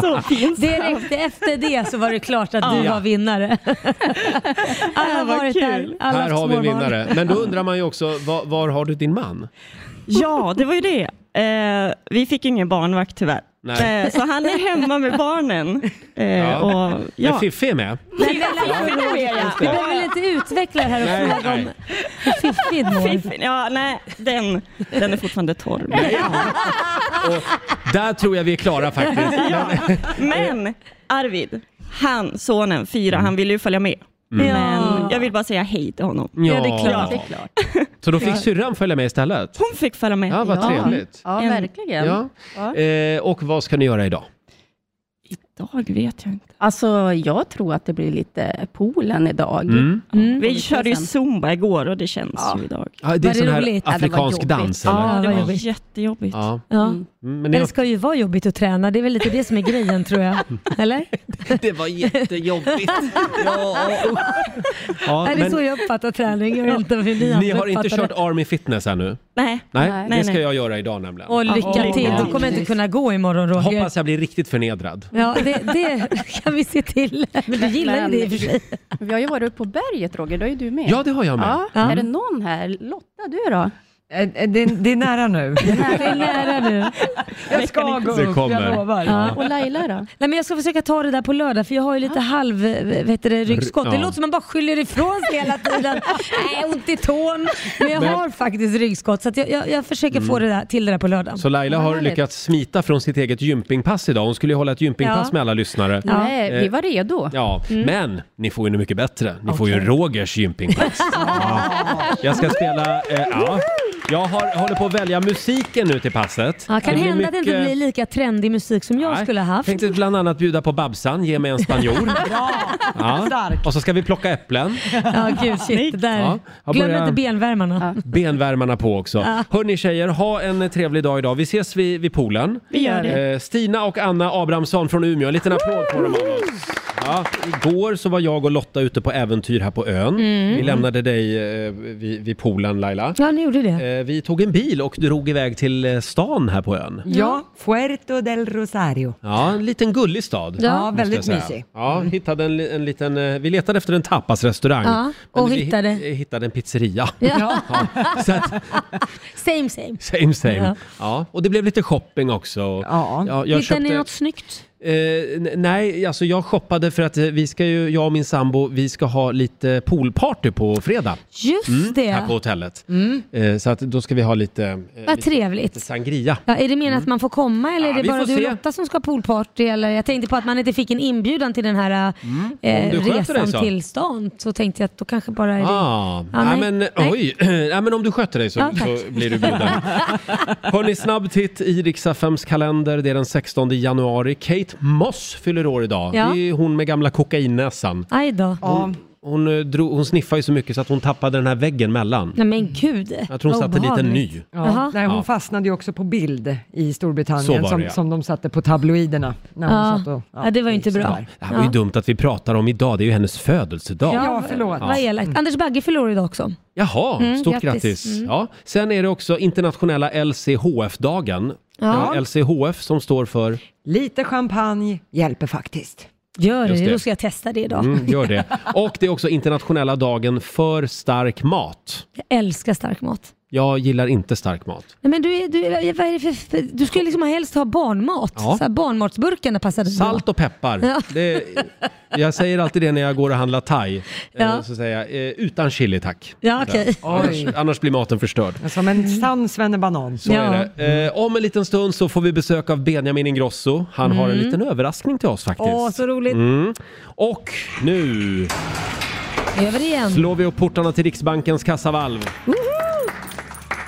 S14: Så finns
S2: Direkt efter det så var det klart att du
S1: Ja.
S2: var vinnare. Alla har
S14: vad
S2: varit där.
S14: kul.
S2: Alla
S1: Här
S2: haft
S1: har vi en
S2: småbarn.
S1: vinnare. Men då undrar man ju också, var, var har du din man?
S14: Ja, det var ju det. Eh, vi fick ingen barnvakt tyvärr.
S1: Nej.
S14: Eh, så han är hemma med barnen. Eh, och, ja.
S1: Men Fiffi är med.
S2: Nej, men alltså,
S14: Ja,
S2: Roger,
S14: just
S2: Vi
S14: det.
S2: behöver väl inte utveckla det här och
S14: Nej,
S2: fråga om
S14: nej.
S2: hur fiffigt mår.
S14: Fiffin, ja, nej, den, den är fortfarande torr. Men,
S1: Där tror jag vi är klara faktiskt.
S14: men Arvid, han, sonen, fyra, han ville ju följa med.
S1: Mm.
S14: Men jag vill bara säga hej till honom.
S1: Ja, det är klart. Ja, det är
S14: klart.
S1: Så då fick syrran följa med istället?
S14: Hon fick följa med.
S1: Ja, vad trevligt.
S14: Ja, verkligen.
S1: Ja. Eh, och vad ska ni göra idag?
S14: Idag vet jag inte.
S15: Alltså, jag tror att det blir lite poolen idag.
S1: Mm.
S14: Vi körde ju zumba igår och det känns ju idag.
S1: Ja, det är Var sån det här roligt? afrikansk Ja, det var dans, jobbigt. eller?
S14: Ja, det
S1: Ja.
S14: var jättejobbigt.
S1: Ja.
S2: Ja.
S1: Mm, Men
S2: Men
S1: ni
S2: det
S1: har...
S2: ska ju vara jobbigt att träna, det är väl lite det som är grejen tror jag. Eller?
S1: Det var jättejobbigt. Ja,
S2: är det
S1: men
S2: så jag uppfattar träning? Jag vet inte hur ni,
S1: ni
S2: andra
S1: har inte
S2: uppfattar
S1: kört
S2: det.
S1: Army Fitness ännu?
S14: Nej.
S1: Nej,
S2: Nej.
S1: det
S2: Nej,
S1: ska
S2: nej.
S1: jag göra idag nämligen.
S2: Och lycka till, då kommer jag inte kunna gå imorgon Roger.
S1: Hoppas jag blir riktigt förnedrad.
S2: Ja, det, det kan vi se till. Men du gillar ju det i och för sig.
S15: Vi har ju varit uppe på berget Roger, då är ju du med.
S1: Ja, det har jag med.
S15: Ja.
S1: Ja.
S15: Är det någon här? Lotta, du då?
S3: Eh, eh, Det, det är nära nu.
S2: Det är nära nu.
S3: Jag ska gå
S2: Det
S3: upp,
S2: kommer.
S3: jag lovar.
S2: Ja. Och Ah.
S15: Laila då?
S2: Nej, men jag ska försöka ta det där på lördag för jag har ju lite halv eh, vet du, det, ryggskott. Det
S5: Ja.
S2: låter som man bara skyller ifrån sig hela tiden. Nej, ont i tån. Men jag
S1: Men-
S2: har faktiskt ryggskott så att jag, jag, jag försöker få
S1: Mm.
S2: det där, till det där på lördag.
S1: Så Laila
S2: Vad
S1: har
S2: härligt.
S1: lyckats smita från sitt eget gympingpass idag. Hon skulle ju hålla ett gympingpass
S2: Ja.
S1: med alla lyssnare.
S2: Ja. Nej, vi
S1: Eh,
S2: var redo.
S1: Ja,
S2: Mm.
S1: men ni får ju nu mycket bättre. Ni får ju Rogers gympingpass. ja. Jag ska spela... Eh, ja. Jag har, håller på att välja musiken nu till passet.
S2: Ja, kan
S1: blir
S2: hända att det inte
S1: mycket-
S2: blir lika trendig musik som jag skulle ha haft.
S1: Tänkte bland annat bjuda på Babsan, ge mig en spanjor. Ja.
S2: Stark.
S1: Och så ska vi plocka äpplen.
S2: Ja, gud shit. Det där.
S1: Ja, jag
S2: Glöm
S1: börjar-
S2: inte benvärmarna.
S1: Benvärmarna på också.
S2: Ja.
S1: Hörni tjejer, ha en trevlig dag idag. Vi ses vid, vid poolen.
S2: Vi gör det.
S1: Eh, Stina och Anna Abrahamsson från Umeå, en liten applåd på dem av oss. Ja, igår så var jag och Lotta ute på äventyr här på ön.
S2: Mm.
S1: Vi lämnade dig eh, vid, vid poolen Laila.
S2: Ja, ni gjorde det.
S1: Eh, vi tog en bil och drog iväg till eh, stan här på ön.
S3: Ja, Fuerto del Rosario.
S1: Ja, en liten gullig stad.
S3: Ja,
S1: måste jag
S3: väldigt
S1: säga.
S3: mysig.
S1: Ja, hittade en, li- en liten, eh, vi letade efter en tapasrestaurang.
S2: Ja, och
S1: vi hi-
S2: hittade?
S1: eh, hittade en pizzeria.
S2: Ja.
S1: Ja, så att,
S2: Same same.
S1: same same. Ja.
S2: Ja.
S1: och det blev lite shopping också. Ja.
S2: Hittade ni något snyggt?
S1: Eh, n- nej, alltså jag shoppade för att eh, vi ska ju, jag och min sambo, vi ska ha lite poolparty på fredag. Mm,
S2: Just det.
S1: Här på hotellet.
S2: Mm.
S1: Eh, så att då ska vi ha lite, eh,
S2: Vad
S1: lite, lite
S2: trevligt.
S1: sangria.
S2: Ja, är det meningen att man får komma eller
S1: Ja,
S2: är
S1: vi
S2: det bara
S1: får
S2: du och
S1: se.
S2: Lotta som ska ha poolparty? Eller, jag tänkte på att man inte fick en inbjudan till den här eh,
S1: Mm. Om du sköter dig
S2: resan
S1: så.
S2: till stan. Så tänkte jag att då kanske bara är det.
S1: Ah,
S2: Ja,
S1: nej,
S2: nej.
S1: men
S2: Nej.
S1: oj. Nej, men om du sköter dig så,
S2: Ja, tack.
S1: så blir du bjuden. Hörni, snabb titt i Riksaffems kalender. Det är den 16 januari. Kate Moss fyller år idag.
S2: Ja.
S1: Det är hon med gamla kokainnäsan.
S2: Aj då.
S1: Hon, eh, drog, hon sniffade ju så mycket så att hon tappade den här väggen mellan.
S2: Nej men gud.
S1: Jag tror hon
S2: Vad
S1: satte dit en
S2: obehagligt.
S1: ny.
S3: Ja, nej, hon
S1: Ja.
S3: fastnade ju också på bild i
S1: Så var
S3: Storbritannien
S1: det,
S3: som,
S1: ja.
S3: som de satte på tabloiderna. När hon
S2: Ja.
S3: satt och,
S2: Ja, det var ju inte
S3: gick
S2: bra.
S3: sådär.
S1: Det här var ju dumt att vi pratar om idag. Det är ju hennes födelsedag.
S2: Vad elakt.
S1: Mm.
S2: Anders Bagge förlorade idag också.
S1: Jaha,
S2: Mm,
S1: stort grattis.
S2: grattis. Mm.
S1: Ja. Sen är det också internationella LCHF-dagen.
S3: Ja.
S1: Eh, LCHF som står för...
S3: Lite champagne hjälper faktiskt.
S2: Gör
S1: Just det. då ska
S2: jag testa det
S1: Mm, gör det. Och det är också internationella dagen för stark mat.
S2: Jag älskar stark mat.
S1: Jag gillar inte stark mat.
S2: Nej, men du, är, du, är- vad är det för- för, du skulle liksom helst ha barnmat.
S1: Ja.
S2: Så här, barnmatsburkarna passade bra.
S1: Salt och peppar.
S2: Ja.
S1: Det, jag säger alltid det när jag går och handlar thai. Eh,
S2: Ja.
S1: Så säger jag, eh, utan chili tack.
S2: Ja, okej.
S1: Så. Annars,
S3: Oj.
S1: annars blir maten förstörd.
S3: Som en sann svennebanan.
S1: Så är det.
S2: Mm.
S1: Eh, om en liten stund så får vi besök av Benjamin Ingrosso. Han har en
S2: Mm.
S1: liten överraskning till oss faktiskt.
S2: Åh, så roligt.
S1: Mm. Och nu
S2: Över igen.
S1: slår vi upp portarna till Riksbankens kassavalv.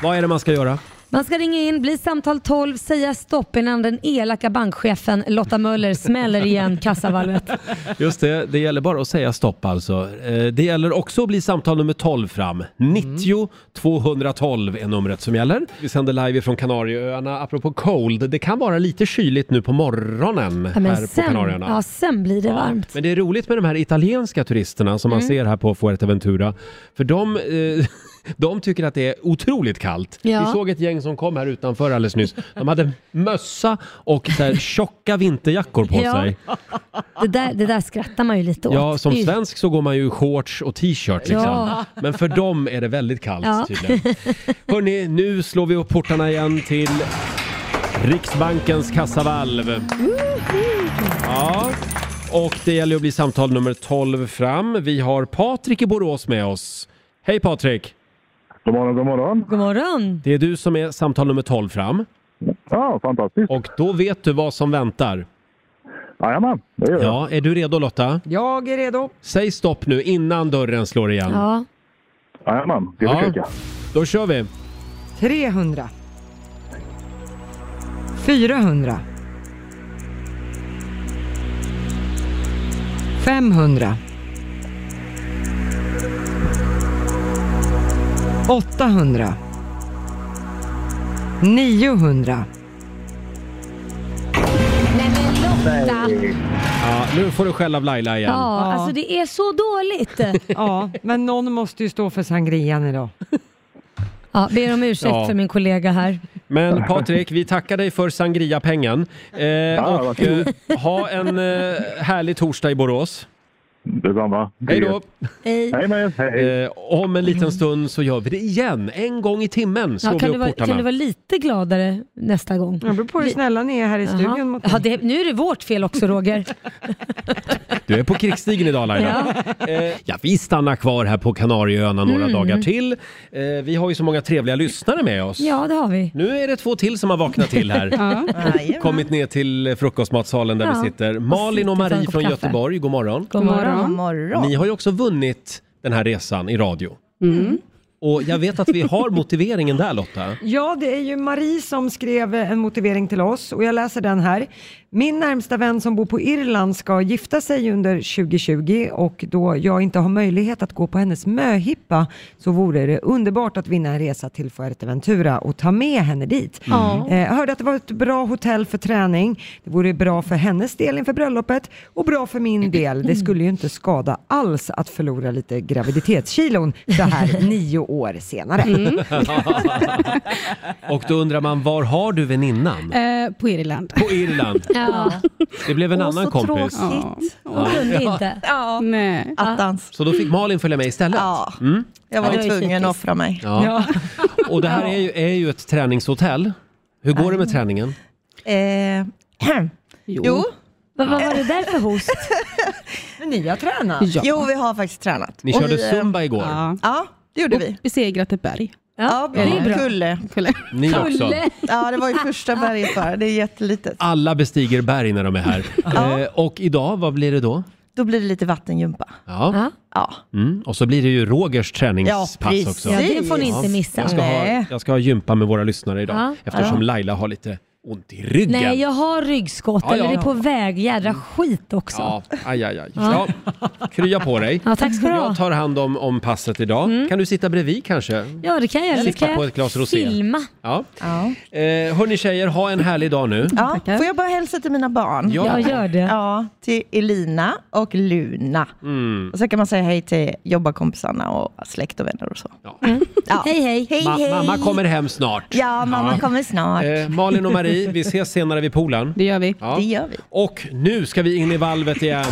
S1: Vad är det man ska göra?
S2: Man ska ringa in, bli samtal 12, säga stopp innan den elaka bankchefen Lotta Möller smäller igen kassavalvet.
S1: Just det, det gäller bara att säga stopp alltså. Eh, Det gäller också att bli samtal nummer 12 fram. 90 212 är numret som gäller. Vi sänder live från Kanarieöarna. Apropå cold, det kan vara lite kyligt nu på morgonen
S2: Ja, men
S1: här på Kanarieöarna.
S2: ja, sen blir det varmt.
S1: Men det är roligt med de här italienska turisterna som man
S2: Mm.
S1: ser här på Fuerteventura. För de, eh, de tycker att det är otroligt kallt.
S2: Ja.
S1: Vi såg ett gäng som kom här utanför alldeles nyss. De hade mössa och så här, tjocka vinterjackor på
S2: Ja.
S1: sig.
S2: Det där, det där skrattar man ju lite åt.
S1: Ja, som
S2: Det är ju-
S1: svensk så går man ju i shorts och t-shirt liksom.
S2: Ja.
S1: Men för dem är det väldigt kallt
S2: Ja.
S1: tydligen. Hörni, nu slår vi upp portarna igen till Riksbankens kassavalv. Ja. Och det gäller att bli samtal nummer 12 fram. Vi har Patrik i Borås med oss. Hej Patrik!
S13: God morgon, god morgon.
S2: God morgon!
S1: Det är du som är samtal nummer 12 fram.
S13: Ja, fantastiskt.
S1: Och då vet du vad som väntar.
S13: Jajamän, det gör jag.
S1: Ja, är du redo Lotta?
S3: Jag är redo.
S1: Säg stopp nu innan dörren slår igen.
S2: Ja.
S13: Jajamän, ska
S1: Ja.
S13: försöka.
S1: Då kör vi!
S3: 300. 400. 500. 800. 900.
S1: Ja, nu får du skäll av Laila igen.
S2: Ja, alltså det är så dåligt.
S3: Ja, men någon måste ju stå för sangrian idag.
S2: Ja, ber om ursäkt
S1: Ja.
S2: för min kollega här.
S1: Men Patrik, vi tackar dig för sangria-pengen. Eh, och eh, ha en eh, härlig torsdag i Borås.
S13: Detsamma.
S1: Hej då!
S2: Hej.
S1: Eh, om en liten stund så gör vi det igen. En gång i timmen slår
S2: Ja, kan,
S1: vi
S2: du
S1: upp
S2: vara,
S1: portarna.
S2: kan du vara lite gladare nästa gång? Det beror på hur snälla ni är här i studion. Mot ja, det, nu är det vårt fel också Roger.
S1: Du är på krigsstigen idag Laila. Eh, ja, vi stannar kvar här på Kanarieöarna några
S2: Mm.
S1: dagar till. Eh, vi har ju så många trevliga lyssnare med oss.
S2: ja, det har vi.
S1: Nu är det två till som har vaknat till här.
S2: Ja.
S1: Kommit ner till eh, frukostmatsalen där
S16: Ja.
S1: vi sitter. Malin och
S16: Och sitter för en
S1: Marie
S16: kopp
S1: från
S16: kaffe.
S1: Göteborg, god morgon.
S16: God morgon. God morgon.
S1: Ni har ju också vunnit den här resan i radio. Och jag vet att vi har motiveringen där Lotta.
S3: Ja, det är ju Marie som skrev en motivering till oss och jag läser den här. Min närmsta vän som bor på Irland ska gifta sig under 2020 och då jag inte har möjlighet att gå på hennes möhippa så vore det underbart att vinna en resa till Fuerteventura och ta med henne dit.
S12: Ja.
S3: Eh, jag hörde att det var ett bra hotell för träning. Det vore bra för hennes del inför bröllopet och bra för min del. Det skulle ju inte skada alls att förlora lite graviditetskilon så här nio år senare.
S1: Mm.
S16: Mm.
S1: och då undrar man, var har du väninnan?
S16: Eh, på Irland.
S1: På Irland.
S16: Ja.
S1: Det blev en
S16: Åh,
S1: annan
S16: så
S1: kompis.
S16: tråkigt.
S1: Ja.
S16: Hon kunde
S1: Ja.
S16: inte. Ja. Nej. Attans.
S1: Så då fick Malin följa med istället?
S16: Ja.
S1: Mm.
S17: Jag var
S16: Ja,
S17: ju
S16: det var ju
S17: tvungen att
S16: typiskt.
S17: offra mig.
S1: Ja. Och det här är ju, är ju ett träningshotell. Hur går det med träningen?
S17: Eh, jo. jo.
S2: Vad var det där för host?
S17: Men ni har tränat.
S16: Ja.
S17: Jo, vi har faktiskt tränat.
S1: Ni
S17: Och
S1: körde
S17: vi, eh,
S1: zumba igår.
S16: Ja.
S17: Ja, det gjorde
S16: och
S17: vi.
S16: besegrat ett berg.
S17: Ja,
S1: det är bra.
S17: Kulle.
S16: Kulle.
S1: Ni också.
S17: Ja, det var ju första berget bara. Det är jättelitet.
S1: Alla bestiger berg när de är här. eh, och idag, vad blir det då?
S17: Då blir det lite vattengympa.
S1: Ja.
S17: ja.
S1: Mm. Och så blir det ju Rogers träningspass
S17: Ja, precis.
S1: också.
S17: Ja, det får ni inte
S2: missa.
S1: Jag ska, ha,
S2: Nej.
S1: jag ska ha gympa med våra lyssnare idag.
S2: Ja.
S1: Eftersom
S2: Ja.
S1: Laila har lite ont i ryggen.
S2: Nej, jag har ryggskott.
S1: Ja, ja.
S2: Eller det är på väg. Jädra skit också.
S1: Ja, aj, aj, aj. Ja.
S2: Ja.
S1: krya på dig.
S2: Ja, tack ska du ha. Mm.
S1: Jag tar hand om, om passet idag. Kan du sitta bredvid kanske?
S2: Ja, det kan jag göra. Det
S1: Sitta
S2: kan
S1: på
S2: jag
S1: ett glas rosé.
S2: filma.
S1: Ja. Eh, hörni tjejer, ha en härlig dag nu.
S17: Ja, får jag bara hälsa till mina barn?
S1: Ja. Ja, gör
S2: det.
S17: Ja, till Elina och Luna.
S1: Mm.
S17: Och så kan man säga hej till jobbarkompisarna och släkt och vänner och så.
S2: Hej, hej.
S17: Hej,
S1: Ma-
S17: hej.
S1: Mamma kommer hem snart.
S17: Ja, mamma
S1: Ja.
S17: kommer snart.
S1: Eh, Malin och Marie, vi ses senare vid poolen.
S16: Det gör vi.
S1: Ja.
S17: Det gör vi.
S1: Och nu ska vi in i valvet igen.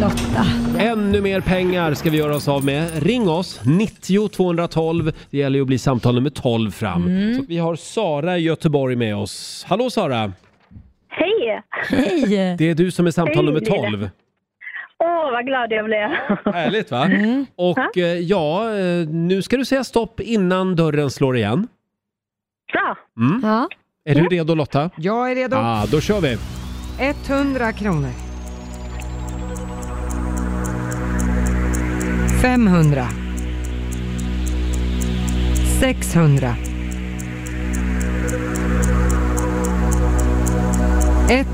S2: Lotta.
S1: Ännu mer pengar ska vi göra oss av med. Ring oss, 90 212. Det gäller ju att bli samtal nummer 12 fram.
S17: Mm.
S1: Så vi har Sara i Göteborg med oss. Hallå Sara!
S18: Hej!
S2: Hej!
S1: Det är du som är samtal
S18: Hej,
S1: nummer
S18: Lille.
S1: 12.
S18: Åh, vad glad jag blev.
S1: Härligt va?
S17: Mm.
S1: Och eh, ja, eh, nu ska du säga stopp innan dörren slår igen.
S18: Bra.
S1: Mm.
S2: Ja.
S1: Är du redo Lotta?
S3: Jag är redo.
S1: Ah, då kör vi!
S3: 100 kronor. 500. 600.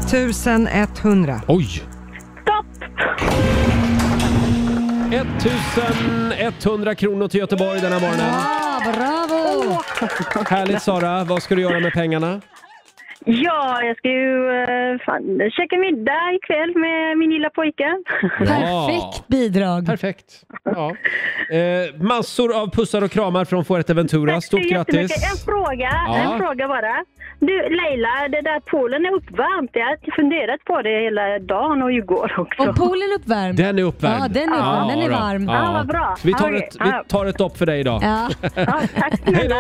S3: 1100.
S1: Oj! 1100 kronor till Göteborg denna morgonen.
S2: Ja, bravo!
S1: Härligt Sara, vad ska du göra med pengarna?
S18: Ja, jag ska ju eh, fan, käka middag ikväll med min lilla pojke.
S1: Perfekt
S2: bidrag.
S1: Perfekt. Ja. Eh, massor av pussar och kramar från Fuerteventura. Stort
S18: jättemycket.
S1: grattis!
S18: En fråga,
S1: Ja.
S18: en fråga bara. Du Leila, det där poolen är uppvärmt. Jag har funderat på det hela dagen och igår också.
S2: Och poolen är uppvärmd.
S1: Den är uppvärmd.
S2: Ja, den är uppvärmd. den är
S1: då.
S2: varm.
S1: Ja. Vi tar,
S18: Okej.
S1: ett, vi tar ett dopp för dig idag.
S2: Ja.
S18: Tack snälla.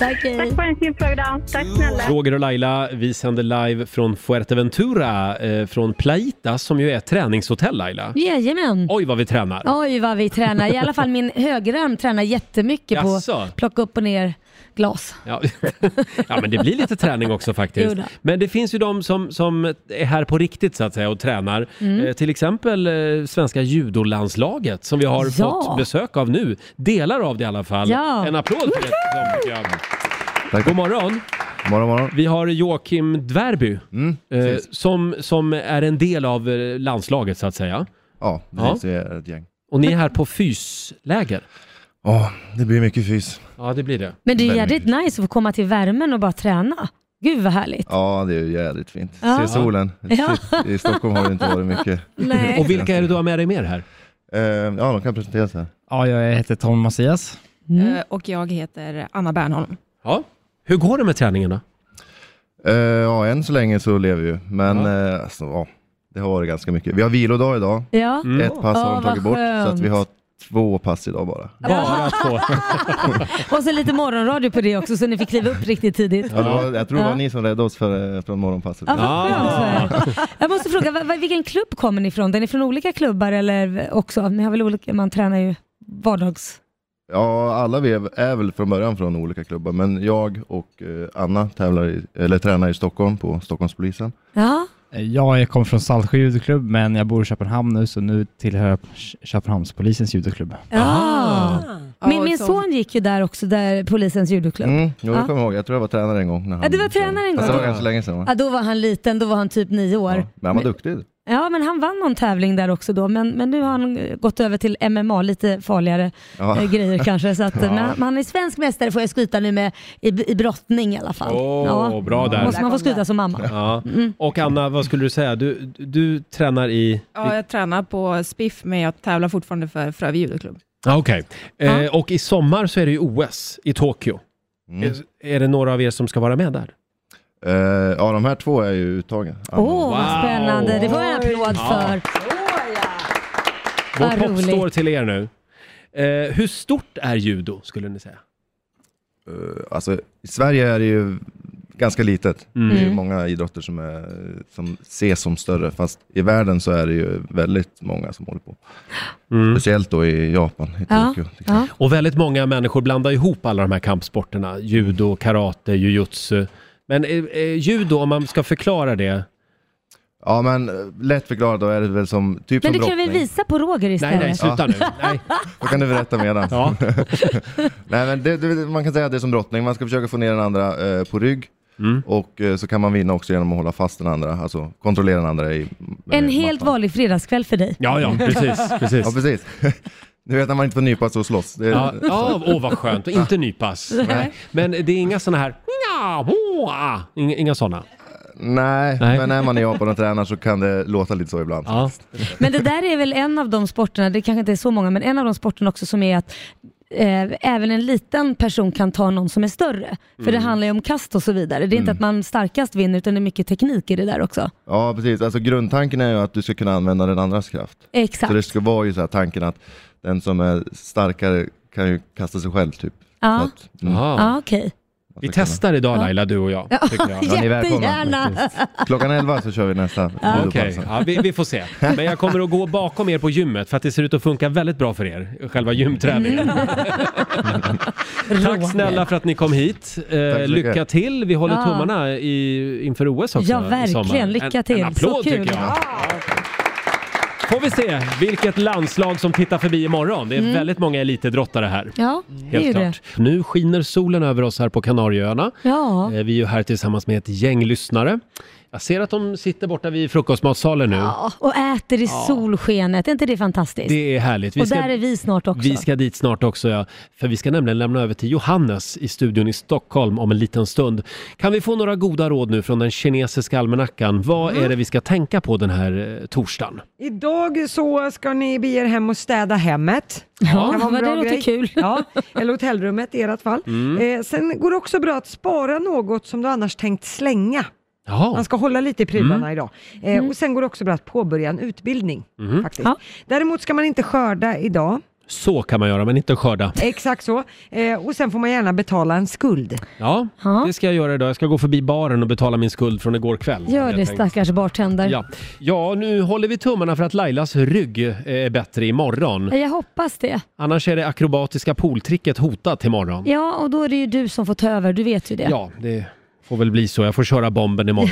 S18: Tack för en fin program. Tack snälla.
S1: Roger och Laila, vi sänder live från Fuerteventura, eh, från Plaitas som ju är ett träningshotell Laila.
S2: Jajamän.
S1: Oj vad vi tränar!
S2: Oj vad vi tränar. I alla fall min högerarm tränar jättemycket på
S1: Jaså?
S2: att plocka upp och ner glas.
S1: Ja. ja, men det blir lite träning också faktiskt.
S2: Jo då.
S1: Men det finns ju de som, som är här på riktigt så att säga och tränar.
S2: Mm.
S1: Eh, till exempel eh, svenska judolandslaget som vi har
S2: Ja.
S1: fått besök av nu. Delar av det i alla fall.
S2: Ja. Mm.
S1: En applåd för det. dem, tycker jag. God morgon!
S19: Morgon, morgon. Mm,
S1: Vi har Joakim Dvärby eh,
S19: precis.
S1: som, som är en del av eh, landslaget så att säga.
S19: Ja, precis. Vi är ett gäng.
S1: Och ni är här på fysläger.
S19: Ja, det blir mycket fys.
S1: Ja, det blir det.
S2: Men det är
S19: Väldigt
S2: jädrigt nice att få komma till värmen och bara träna. Gud vad härligt.
S19: Ja, det är ju jävligt fint.
S2: Ja.
S19: Se solen.
S2: Ja.
S19: I Stockholm har det inte varit mycket. Eh,
S2: Nej.
S1: Och vilka är det du har med dig mer här?
S19: ja, de kan presentera sig.
S20: Ja, jag heter Tom Macias.
S21: Eh, Och jag heter Anna Bernholm.
S1: Ja. Hur går det med träningarna?
S19: Eh, ja, än så länge så lever vi ju, men eh, alltså, ja, Det har varit ganska mycket. Vi har vilodag idag.
S2: Ja. Mm.
S19: Ett pass
S2: Åh,
S19: har de
S2: vad
S19: tagit bort, så att vi
S2: skönt.
S19: har två pass idag bara.
S2: Bara
S1: två?
S2: Och så lite morgonradio på det också så ni fick kliva upp riktigt tidigt.
S19: Ja, det var, jag tror det var
S2: Ja.
S19: ni som räddade oss för, eh, från morgonpasset.
S2: Ja, vad skönt, Jag måste fråga, vad- vad- vilken klubb kommer ni ifrån? Är ni från olika klubbar eller också? Ni har väl olika, man tränar ju vardags...
S19: Ja, alla vi är, är väl från början från olika klubbar, men jag och eh, Anna tävlar i, eller tränar i Stockholm på Stockholmspolisen.
S2: Ja.
S20: Ja, Eh, jag kommer från Saltsjö judoklubb, men jag bor i Köpenhamn nu, så nu tillhör jag Kö- Köpenhamnspolisens judoklubb.
S2: Ah. Min,
S17: Ja,
S2: min
S17: som-
S2: son gick ju där också, där polisens judoklubb.
S19: Mm, jo, det
S2: Ja.
S19: kommer jag ihåg. Jag tror jag var tränare en gång. När han,
S2: Ja, du var tränare en
S19: Fast det var
S2: gång.
S19: ganska länge sedan va?
S2: Ja, då var han liten, då var han typ nio år.
S19: Men han var duktig.
S2: Ja, men han vann någon tävling där också då, men, men nu har han eh, gått över till MMA, lite farligare
S19: Ja.
S2: eh, grejer kanske. Så att, eh,
S19: Ja.
S2: men han- men han är svensk mästare får jag skryta nu med i, i brottning i alla fall.
S1: Åh, bra där.
S2: Måste man få skryta som mamma.
S1: Ja.
S19: Mm.
S1: Och Anna, vad skulle du säga? Du, du, du tränar i...
S2: Ja,
S1: i-
S21: Jag tränar på SPIF, men jag tävlar fortfarande för Frövi judoklubb.
S1: Ja, Okej. Eh, och i sommar så är det ju OS i Tokyo. Är, är det några av er som ska vara med där?
S19: Eh, ja, de här två är ju uttagen.
S2: Åh, vad spännande. Det var en applåd
S1: Ja.
S2: för.
S1: Vårt
S2: Vad
S1: hopp
S2: roligt.
S1: står till er nu. Eh, hur stort är judo, skulle ni säga?
S19: Eh, alltså, I Sverige är det ju ganska litet.
S1: Mm.
S19: Det är ju
S1: Mm.
S19: många idrotter som, är, som ses som större, fast i världen så är det ju väldigt många som håller på.
S1: Mm.
S19: Speciellt då i Japan, i
S2: Ja.
S19: Tokyo.
S2: Ja.
S1: Och väldigt många människor blandar ihop alla de här kampsporterna. Judo, karate, jujutsu. Men eh, eh, judo, om man ska förklara det.
S19: Ja, men eh, lätt förklarat då är det väl som, typ
S2: Men
S19: som
S2: du kan väl
S19: brottning.
S2: visa på Roger istället?
S19: Ja. Då kan du berätta medan. Nej, men det, det, man kan säga att det är som drottning, man ska försöka få ner den andra eh, på rygg.
S1: Mm.
S19: Och eh, så kan man vinna också genom att hålla fast den andra, alltså kontrollera den andra i... eh,
S2: En
S19: mattan.
S2: helt vanlig fredagskväll för dig.
S19: Ja, precis. Du vet när man inte får nypas och slåss. Det är-
S1: Ja, ja, åh vad skönt. Och inte nypas.
S19: Nej.
S1: Nej. Men det är inga sådana här... Inga, inga sådana.
S19: Nej, men när man är i Japan och tränar så kan det låta lite så ibland.
S1: Ja.
S2: Men det där är väl en av de sporterna, det kanske inte är så många, men en av de sporterna också som är att eh, även en liten person kan ta någon som är större. För det
S19: Mm.
S2: handlar ju om kast och så vidare. Det är inte
S1: Mm.
S2: att man starkast vinner utan det är mycket teknik i det där också.
S19: Ja, precis. Alltså grundtanken är ju att du ska kunna använda den andras kraft.
S2: Exakt.
S19: Så det ska vara ju så här tanken att den som är starkare kan ju kasta sig själv typ.
S2: Ja.
S19: Så att, mm.
S2: Ja, okej.
S1: Vi testar idag Laila, du och jag.
S2: Ja,
S1: tycker jag.
S19: Ja, ni är välkomna.
S2: jättegärna.
S19: Klockan 11 så kör vi nästa.
S1: Ja.
S19: judopass.
S1: Okej, ja, vi, vi får se. Men jag kommer att gå bakom er på gymmet för att det ser ut att funka väldigt bra för er, själva gymträningen.
S2: Mm.
S1: Tack snälla för att ni kom hit. Eh,
S5: mycket.
S1: lycka till. Vi håller
S2: Ja.
S1: tummarna i, inför OS också.
S2: Ja,
S1: i
S2: verkligen.
S1: sommar.
S2: Lycka
S1: En,
S2: till.
S1: en applåd
S2: Så kul.
S1: tycker jag. Får vi se vilket landslag som tittar förbi imorgon. Det är
S2: Mm.
S1: väldigt många elitidrottare här.
S2: Ja, det är ju
S1: Helt
S2: det.
S1: klart. Nu skiner solen över oss här på Kanarieöarna.
S2: Ja.
S1: Eh, Vi är ju här tillsammans med ett gäng lyssnare. Jag ser att de sitter borta vid frukostmatsalen nu.
S2: Ja, och äter i solskenet, är inte det fantastiskt?
S1: Det är härligt.
S2: och där är vi snart också.
S1: Vi ska dit snart också, ja. För vi ska nämligen lämna över till Johannes i studion i Stockholm om en liten stund. Kan vi få några goda råd nu från den kinesiska almanackan? Vad
S2: Mm.
S1: är det vi ska tänka på den här eh, torsdagen?
S3: Idag så ska ni bege er hem och städa hemmet.
S2: Ja,
S3: kan vara en
S2: vad
S3: bra
S2: det låter
S3: grej.
S2: kul.
S3: Ja, eller hotellrummet i ert fall.
S5: Mm.
S3: Eh, sen går det också bra att spara något som du annars tänkt slänga.
S5: Jaha.
S3: Man ska hålla lite i prylarna
S5: Mm.
S3: idag. Eh,
S5: Mm.
S3: Och sen går det också bra att påbörja en utbildning.
S1: Mm.
S3: Faktiskt. Däremot ska man inte skörda idag.
S1: Så kan man göra, men inte skörda.
S3: Exakt så. Eh, och sen får man gärna betala en skuld.
S1: Ja, det ska jag göra idag. Jag ska gå förbi baren och betala min skuld från igår kväll.
S2: Gör
S1: hade
S2: det
S1: jag tänkt.
S2: stackars bartender.
S1: Ja. ja, nu håller vi tummarna för att Lailas rygg eh, är bättre imorgon.
S2: Jag hoppas det.
S1: Annars är det akrobatiska pooltricket hotat imorgon.
S2: Ja, och då är det ju du som får ta över, du vet ju det.
S1: Ja, det får väl bli så. Jag får köra bomben imorgon.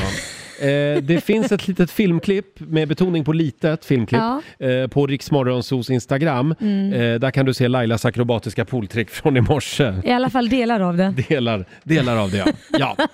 S1: eh, det finns ett litet filmklipp med betoning på litet filmklipp eh, på Riksmorgonsos Instagram.
S2: Mm.
S1: Eh, där kan du se Lailas akrobatiska pooltrick från i morse.
S2: I alla fall delar av det.
S1: Delar, delar av det ja. ja.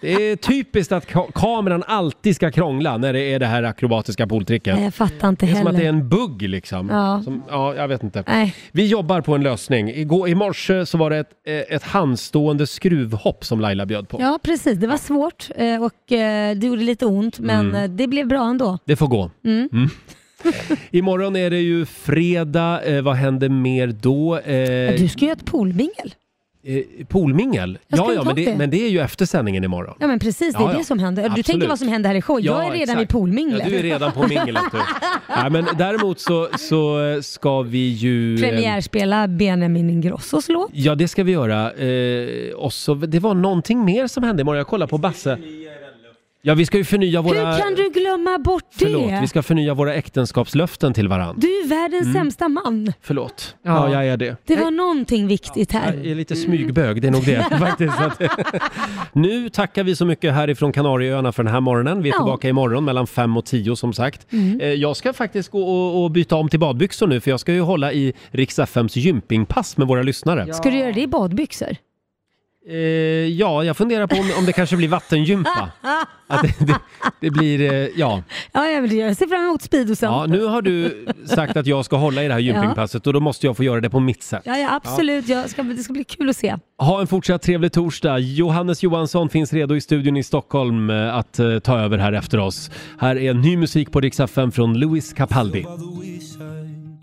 S1: Det är typiskt att ka- kameran alltid ska krångla när det är det här akrobatiska pooltricket.
S2: Nej, jag fattar Eh, inte
S1: Det är som
S2: heller.
S1: att det är en bugg liksom.
S2: Ja.
S1: Som, ja, jag vet inte.
S2: Nej.
S1: Vi jobbar på en lösning. Igår, I morse så var det ett, eh, ett handstående skruvhopp som Laila bjöd på.
S2: Ja, precis. Det var svårt eh, och eh, det gjorde lite ont, men
S1: Mm.
S2: eh, det blev bra ändå.
S1: Det får gå.
S2: Mm.
S1: Mm. Imorgon är det ju fredag. Eh, vad händer mer då? Eh,
S2: Du ska ju ha ett poolmingel.
S1: Eh, Poolmingel?
S2: Jag
S1: Ja,
S2: skulle
S1: ja,
S2: ta
S1: men det,
S2: det.
S1: men det är ju efter sändningen imorgon.
S2: Ja men precis, det är
S1: Ja, ja.
S2: det som händer. Du
S1: Absolut.
S2: tänker vad som händer här i show. jag är
S1: Ja,
S2: redan
S1: exakt.
S2: vid poolminglet.
S1: Ja, du är redan på minglet. Du. Nej, men däremot så, så eh, ska vi ju... eh,
S2: Premiärspela Benjamin Ingrossos låt.
S1: Ja, det ska vi göra. Eh, och så, det var någonting mer som hände imorgon. Jag kollar på Basse. Ja, vi ska ju förnya våra...
S2: Hur kan du glömma bort
S1: Förlåt,
S2: det?
S1: vi ska förnya våra äktenskapslöften till varandra.
S2: Du är världens
S1: Mm.
S2: sämsta man.
S1: Förlåt. Ja, jag är det.
S2: Det var någonting viktigt här.
S1: Jag är lite smygbög, det är nog det faktiskt. Så Att, nu tackar vi så mycket härifrån Kanarieöarna för den här morgonen. Vi är
S2: Ja.
S1: tillbaka imorgon mellan 5 och 10 som sagt.
S2: Mm.
S1: Eh, Jag ska faktiskt gå och, och byta om till badbyxor nu för jag ska ju hålla i Rix FMs gympingpass med våra lyssnare.
S2: Ska du göra det i badbyxor?
S1: Eh, ja, jag funderar på om, om det kanske blir vattengympa. Att det, det, det blir, eh, ja.
S2: Ja, jag vill göra. Jag ser fram emot speedosen.
S1: ja. Nu har du sagt att jag ska hålla i det här gympingpasset och då måste jag få göra det på mitt sätt.
S2: Ja, ja absolut. Jag ska, det ska bli kul att se.
S1: Ha en fortsatt trevlig torsdag. Johannes Johansson finns redo i studion i Stockholm eh, att eh, ta över här efter oss. Här är ny musik på Rix FM från Louis Capaldi.